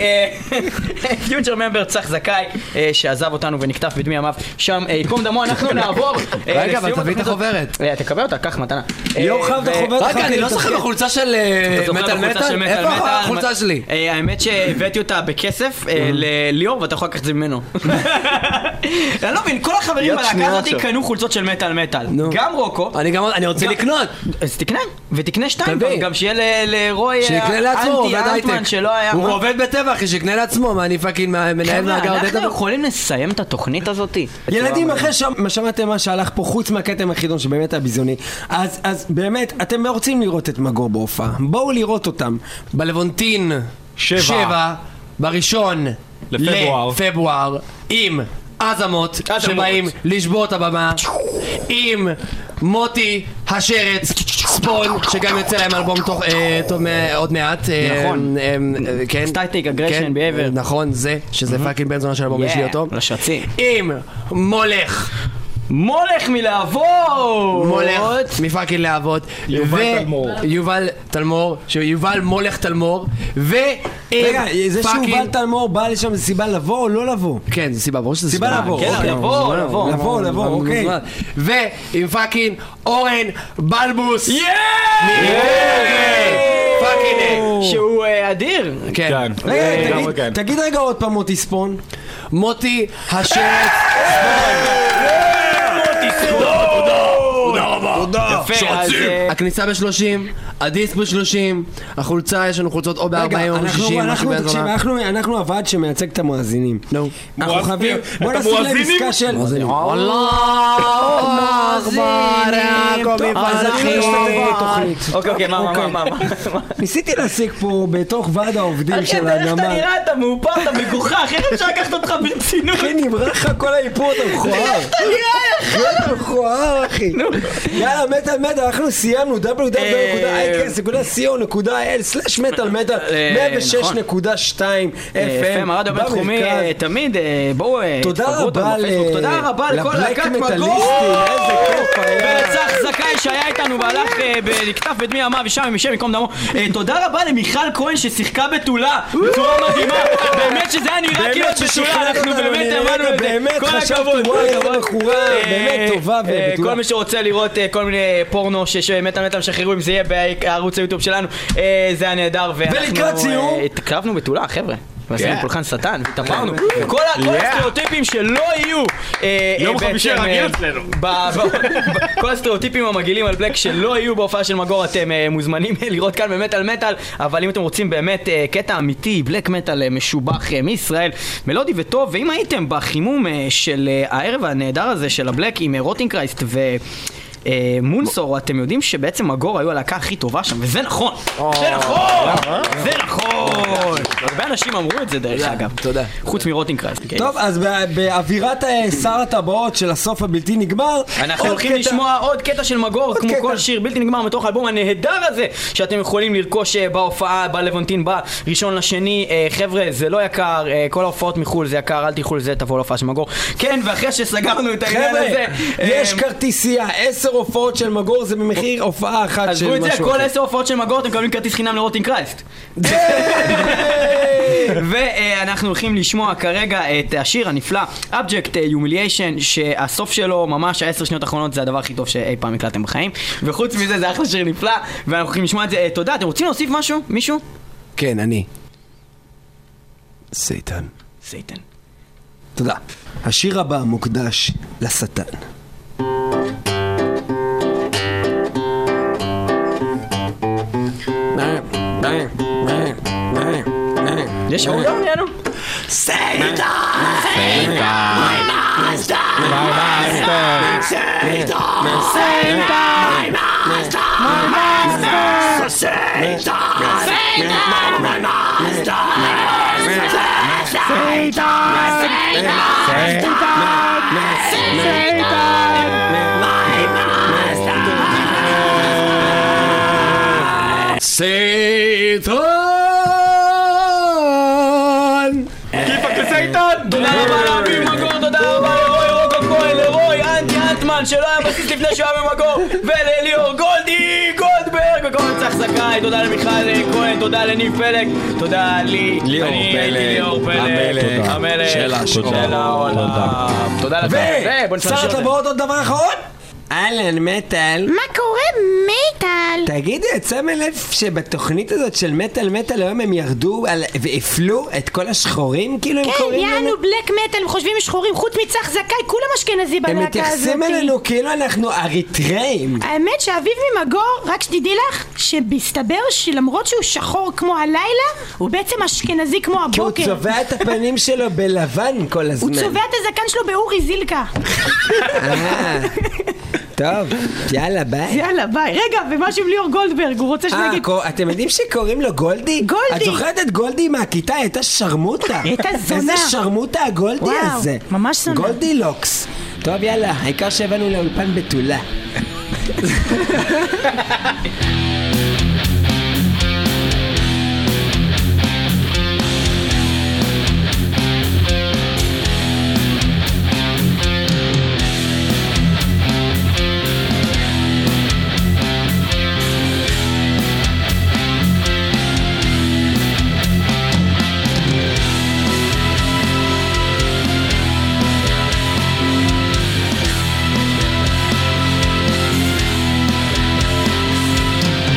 Speaker 1: פיוטר ממבר צח זכאי, אה, שעזב אותנו ונקטף בדמי ימיו שם, אה, ייקום דמו, אנחנו נעבור. אה, לסיום
Speaker 3: רגע, אבל תביא את
Speaker 1: התוכנית
Speaker 3: החוברת.
Speaker 1: הזאת. אה, תקבל אותה, קח מתנה. אה,
Speaker 2: יואו, חייב את
Speaker 1: ו-
Speaker 2: החוברת.
Speaker 3: רגע, אני לא זוכר בחולצה של אה,
Speaker 1: אתה זוכר
Speaker 3: מטאל
Speaker 1: בחולצה של
Speaker 3: מטאל?
Speaker 1: מטאל
Speaker 3: איפה
Speaker 1: מטאל?
Speaker 3: החולצה שלי?
Speaker 1: אה, האמת שהבאתי אותה בכסף אה, לליאור, ואתה יכול לקחת את זה ממנו. אני לא מבין, כל החברים
Speaker 5: יד
Speaker 1: בלהקה
Speaker 5: שנייה
Speaker 1: הזאת
Speaker 5: עכשיו.
Speaker 1: קנו חולצות של מטאל מטאל. גם רוקו.
Speaker 3: אני גם אני רוצה
Speaker 2: לא.
Speaker 1: גם-
Speaker 3: לקנות.
Speaker 1: אז תקנה, ותקנה שתיים,
Speaker 3: תביא.
Speaker 1: גם- גם שיהיה ל- לרוי
Speaker 3: שיקנה לעצמו, הוא
Speaker 1: אנטי
Speaker 3: עובד
Speaker 1: אנטמן
Speaker 3: הייטק.
Speaker 1: שלא היה...
Speaker 3: הוא
Speaker 1: מה?
Speaker 3: עובד בטבע, אחי, שיקנה לעצמו, מה, אני פאקינג מה- מנהל
Speaker 1: חבר'ה,
Speaker 3: מאגר
Speaker 1: אנחנו
Speaker 3: דאטה?
Speaker 1: יכולים לסיים את התוכנית הזאתי?
Speaker 2: ילדים, אחרי שמה שמעתם מה שהלך פה, חוץ מהכתם החידון שבאמת היה ביזיוני, אז, אז באמת, אתם לא רוצים לראות את מגור בהופעה, בואו לראות אותם.
Speaker 3: בלוונטין
Speaker 6: שבע.
Speaker 3: שבע, בראשון
Speaker 6: לפברואר.
Speaker 3: לפברואר, עם עזמות שבאים לשבור את הבמה, עם מוטי השרץ, ספון, שגם יוצא להם אלבום תוך- אה, טוב מ- עוד מעט. אה,
Speaker 1: נכון.
Speaker 3: אה, אה, כן.
Speaker 1: Static Aggression
Speaker 3: כן,
Speaker 1: Behavior.
Speaker 3: אה, נכון, זה,
Speaker 2: Mm-hmm.
Speaker 3: שזה פאקינג בן זונה של אלבום, יש לי אותו.
Speaker 1: רשצים.
Speaker 3: עם מולך.
Speaker 1: מולך מלעבור!
Speaker 3: מולך מפאקינג להבות יובל
Speaker 6: תלמור.
Speaker 3: יובל תלמור שיובל מולך תלמור ו...
Speaker 2: רגע, זה שיובל תלמור בא לשם זה סיבה לבוא או לא לבוא?
Speaker 3: כן, זו סיבה, ברור שזה
Speaker 2: סיבה לבוא,
Speaker 1: כן,
Speaker 2: אוקיי.
Speaker 1: לבוא, לבוא.
Speaker 2: לבוא, לבוא, אוקיי.
Speaker 3: ועם פאקינג אורן בלבוס! יאיי! פאקינג... אה,
Speaker 1: שהוא אה, אדיר!
Speaker 3: כן.
Speaker 6: כן.
Speaker 2: רגע,
Speaker 6: לגמרי
Speaker 2: תגיד-
Speaker 6: כן.
Speaker 3: אוקיי.
Speaker 2: תגיד רגע עוד פעם מוטי ספון.
Speaker 3: מוטי השרץ
Speaker 1: יפה, אז... אה,
Speaker 3: הכניסה ב-30, הדיסק ב-30, החולצה, יש לנו חולצות או ב-40 או ב-60, משהו
Speaker 2: רגע, אנחנו- אנחנו,
Speaker 3: באזור
Speaker 2: תקשיב,
Speaker 3: ה-
Speaker 2: אנחנו- אנחנו הוועד שמייצג את המואזינים.
Speaker 3: נו.
Speaker 2: אנחנו חייבים, בוא נשים להם עסקה של...
Speaker 3: الله أكبر يا كومي
Speaker 2: אז אנחנו נשתתף בתוכנית.
Speaker 1: אוקיי, אוקיי, מה, מה, מה, מה, מה?
Speaker 2: ניסיתי להשיג פה בתוך ועד העובדים
Speaker 1: אחי,
Speaker 2: של
Speaker 1: אתה- איך אתה
Speaker 2: הנמל.
Speaker 1: נראה? אתה מאופר, אתה מגוחך, איך אפשר לקחת אותך ברצינות?
Speaker 2: אחי, נמרח לך כל האיפור, אתה מכוער.
Speaker 1: אתה נראה,
Speaker 2: אתה מכוער, אחי. יאללה, מטאל מטאל, אנחנו סיימנו, www.icast.co.il/מטאל מטאל, 106.2
Speaker 1: FM,
Speaker 2: FM,
Speaker 1: הרדיו הבינתחומי,
Speaker 2: במרכז.
Speaker 1: אה, תמיד, אה, בואו, אה,
Speaker 2: תודה
Speaker 1: תתחברו אותנו
Speaker 2: רבה
Speaker 1: בפייסבוק.
Speaker 2: ל-
Speaker 1: תודה רבה לכל
Speaker 2: לבלק
Speaker 1: להקת
Speaker 2: מטאליסטים,
Speaker 1: מקור,
Speaker 2: איזה כיף היה.
Speaker 1: ולצח זכאי שהיה איתנו והלך אה, ב- לקטף את מי עמה ושם עם השם מקום דמו. אה, תודה רבה למיכל כהן ששיחקה בתולה בצורה מדהימה, באמת שזה היה נראה כאילו את
Speaker 2: באמת
Speaker 1: בתולה,
Speaker 2: ששכנעת
Speaker 1: אנחנו
Speaker 2: אותנו,
Speaker 1: באמת
Speaker 2: אני
Speaker 1: האמנו את זה,
Speaker 2: באמת
Speaker 1: כל
Speaker 2: חשבתי,
Speaker 1: הכבוד.
Speaker 2: וואי, איזה
Speaker 1: כל הכבוד.
Speaker 2: בחורה,
Speaker 1: אה,
Speaker 2: באמת טובה
Speaker 1: אה,
Speaker 2: ובתולה.
Speaker 1: כל מי שרוצה לראות אה, כל מיני פורנו שמטה מטה משחררו, אם זה יהיה בערוץ היוטיוב שלנו, אה, זה היה נהדר. ואנחנו,
Speaker 2: ולקראת
Speaker 1: אה,
Speaker 2: סיום-
Speaker 1: התקרבנו בתולה, חבר'ה. ועשינו
Speaker 2: כן.
Speaker 1: פולחן שטן, התאפרנו.
Speaker 2: כן.
Speaker 1: כל ה- כל
Speaker 2: Yeah.
Speaker 1: הסטריאוטיפים שלא יהיו. אה,
Speaker 6: יום
Speaker 1: אה,
Speaker 6: חמישי
Speaker 1: בעצם,
Speaker 6: הרגיל
Speaker 1: אה,
Speaker 6: אצלנו.
Speaker 1: ב- ב- כל הסטריאוטיפים המגעילים על בלק שלא יהיו בהופעה של מגור, אתם אה, מוזמנים לראות כאן במטאל מטאל, אבל אם אתם רוצים באמת אה, קטע אמיתי, בלק מטאל אה, משובח אה, מישראל, מלודי וטוב, ואם הייתם בחימום אה, של אה, הערב הנהדר הזה של הבלק עם אה, רוטינגרייסט ו... אה, מונסור, אתם יודעים שבעצם מגור היו הלהקה הכי טובה שם, וזה נכון! זה נכון! זה נכון! הרבה אנשים אמרו את זה דרך אגב. תודה. חוץ מרוטינגרייסט. כן.
Speaker 2: טוב, אז בא- באווירת אה, שר הטבעות של הסוף הבלתי נגמר,
Speaker 1: אנחנו
Speaker 2: עוד
Speaker 1: הולכים
Speaker 2: קטע-
Speaker 1: לשמוע עוד קטע של מגור, כמו כל שיר בלתי נגמר מתוך האלבום הנהדר הזה שאתם יכולים לרכוש אה, בהופעה בלוונטין בראשון לשני. אה, חבר'ה, זה לא יקר, אה, כל ההופעות מחו"ל זה יקר, אל תלכו לזה, תבואו להופעה של מגור. כן, ואחרי שסגרנו את העניין
Speaker 2: חבר'ה,
Speaker 1: הזה... אה,
Speaker 2: יש כרטיסייה, עשר הופעות של מגור זה במחיר הופעה אחת של
Speaker 1: עזבו
Speaker 2: משהו
Speaker 1: את זה,
Speaker 2: אחר.
Speaker 1: כל עשר הופעות של מגור אתם מקבלים כרטיס חינם לרוטינגרייסט. ואנחנו הולכים לשמוע כרגע את השיר הנפלא, Object Humiliation, שהסוף שלו, ממש העשר שניות האחרונות, זה הדבר הכי טוב שאי פעם הקלטתם בחיים. וחוץ מזה, זה אחלה שיר נפלא, ואנחנו הולכים לשמוע את זה. אה, תודה, אתם רוצים להוסיף משהו? מישהו?
Speaker 2: כן, אני. סייטן.
Speaker 1: סייטן.
Speaker 2: תודה. השיר הבא מוקדש לשטן.
Speaker 1: יש אורדון, יאנו?
Speaker 3: סייטן! מאסטר! סייטן! סייטן! מאסטר! מאסטר! סייטן! מאסטר! סייטן! סייטן!
Speaker 1: כיפאק לסייטן! תודה רבה לאביב מגור, תודה רבה לרוי רוקו כהן, לרוי אנטי אנטמן, שלא היה בסיס לפני שהוא היה במגור, ולליאור גולדי גולדברג, וכל מיני צח זכאי, תודה למיכל אה, כהן, תודה לניב פלג, תודה לי,
Speaker 2: ליאור
Speaker 1: אני
Speaker 2: פלג,
Speaker 1: הייתי ליאור פלג,
Speaker 2: המלך,
Speaker 1: המלך,
Speaker 2: של השחור.
Speaker 1: העולם, תודה לך, ובוא אוקיי, נשאל
Speaker 2: ושר
Speaker 1: שאלות.
Speaker 2: הטבעות עוד דבר אחרון? אהלן, מטאל.
Speaker 3: מה קורה מטאל?
Speaker 2: תגידי, את שמה לב שבתוכנית הזאת של מטאל מטאל היום הם ירדו על- והפלו את כל השחורים? כאילו הם
Speaker 9: כן,
Speaker 2: קוראים לנו...
Speaker 9: יענו בלק מטאל, הם חושבים שחורים, חוץ מצח זכאי, כולם אשכנזי
Speaker 2: הם
Speaker 9: בלהקה הזאת. אה,
Speaker 2: מתייחסים אלינו כאילו אנחנו אריתראים.
Speaker 9: האמת שאביב ממגור, רק שתדעי לך, שמסתבר שלמרות שהוא שחור כמו הלילה, הוא בעצם אשכנזי כמו
Speaker 2: כי הוא
Speaker 9: הבוקר.
Speaker 2: צובע את הפנים שלו בלבן כל הזמן.
Speaker 9: אוקיי. הוא צובע את הזקן שלו באורי זילקה.
Speaker 2: אה, טוב, יאללה ביי.
Speaker 9: יאללה, ביי. רגע, ומשהו עם ליאור גולדברג, הוא רוצה
Speaker 2: אה,
Speaker 9: שנגיד...
Speaker 2: קור- אתם יודעים שקוראים לו גולדי?
Speaker 9: גולדי.
Speaker 2: את זוכרת את גולדי מהכיתה? היא הייתה שרמוטה.
Speaker 9: היא הייתה זונה.
Speaker 2: איזה שרמוטה הגולדי
Speaker 9: וואו,
Speaker 2: הזה.
Speaker 9: ממש זונה.
Speaker 2: גולדי לוקס. טוב, יאללה, העיקר שהבאנו לאולפן בתולה.
Speaker 3: Thank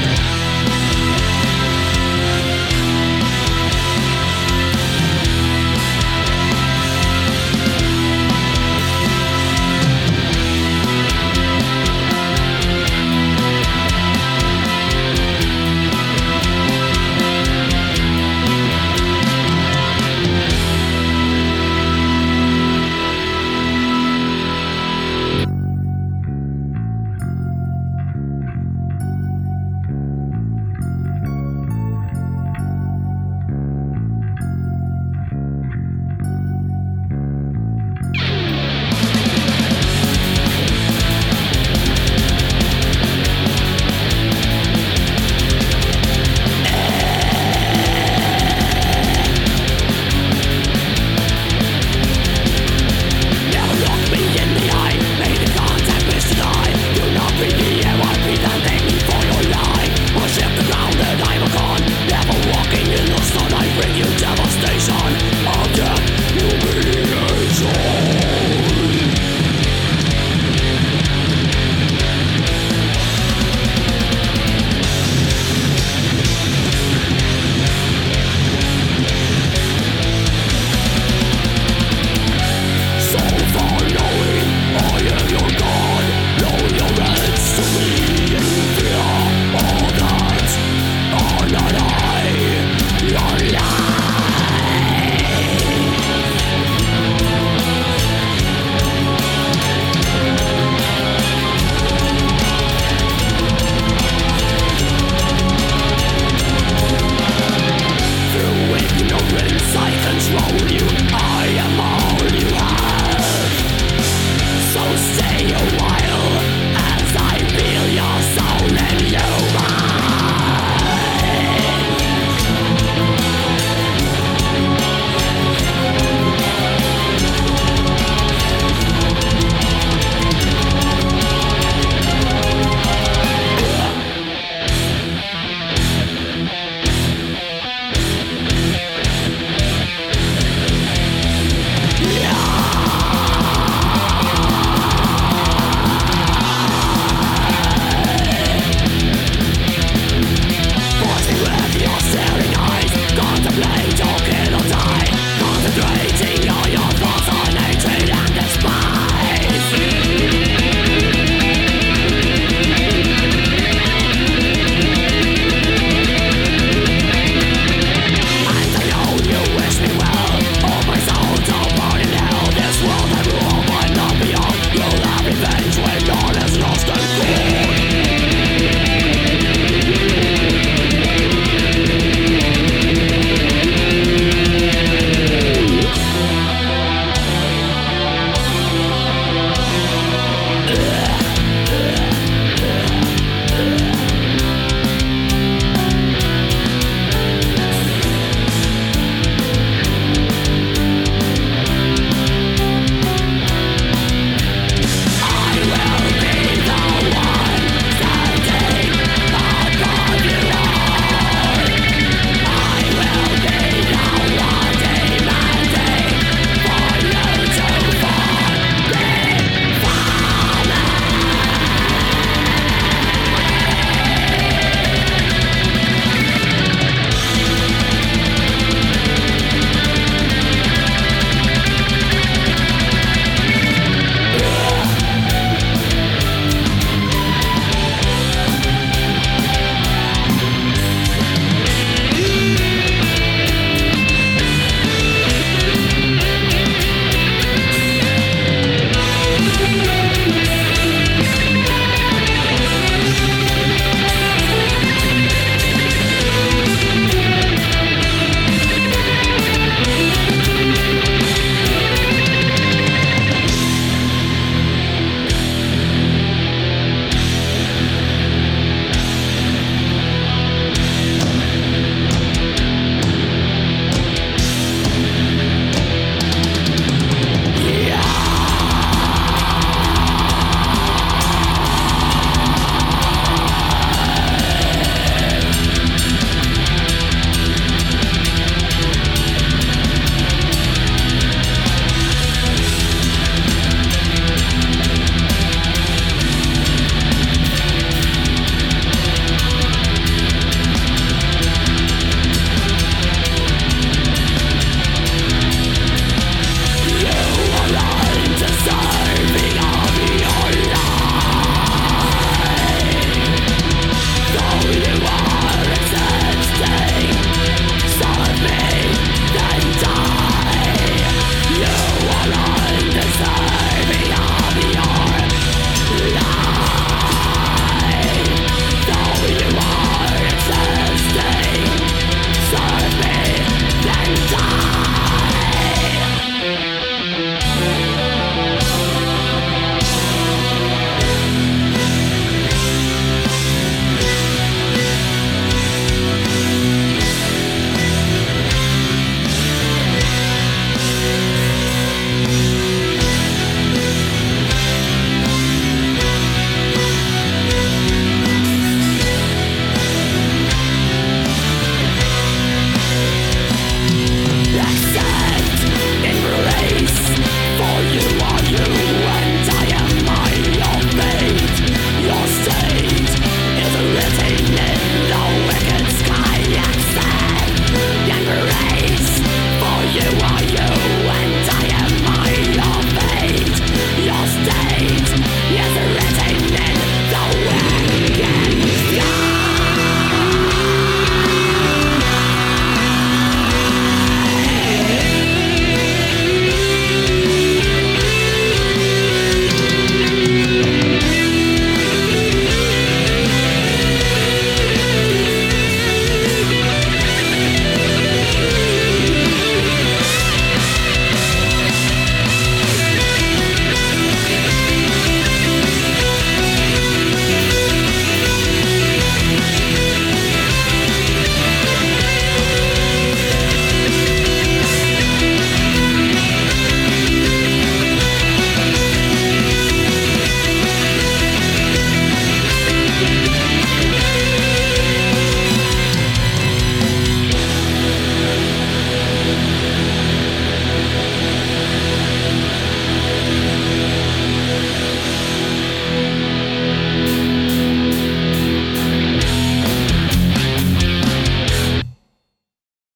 Speaker 13: Serve me, then die!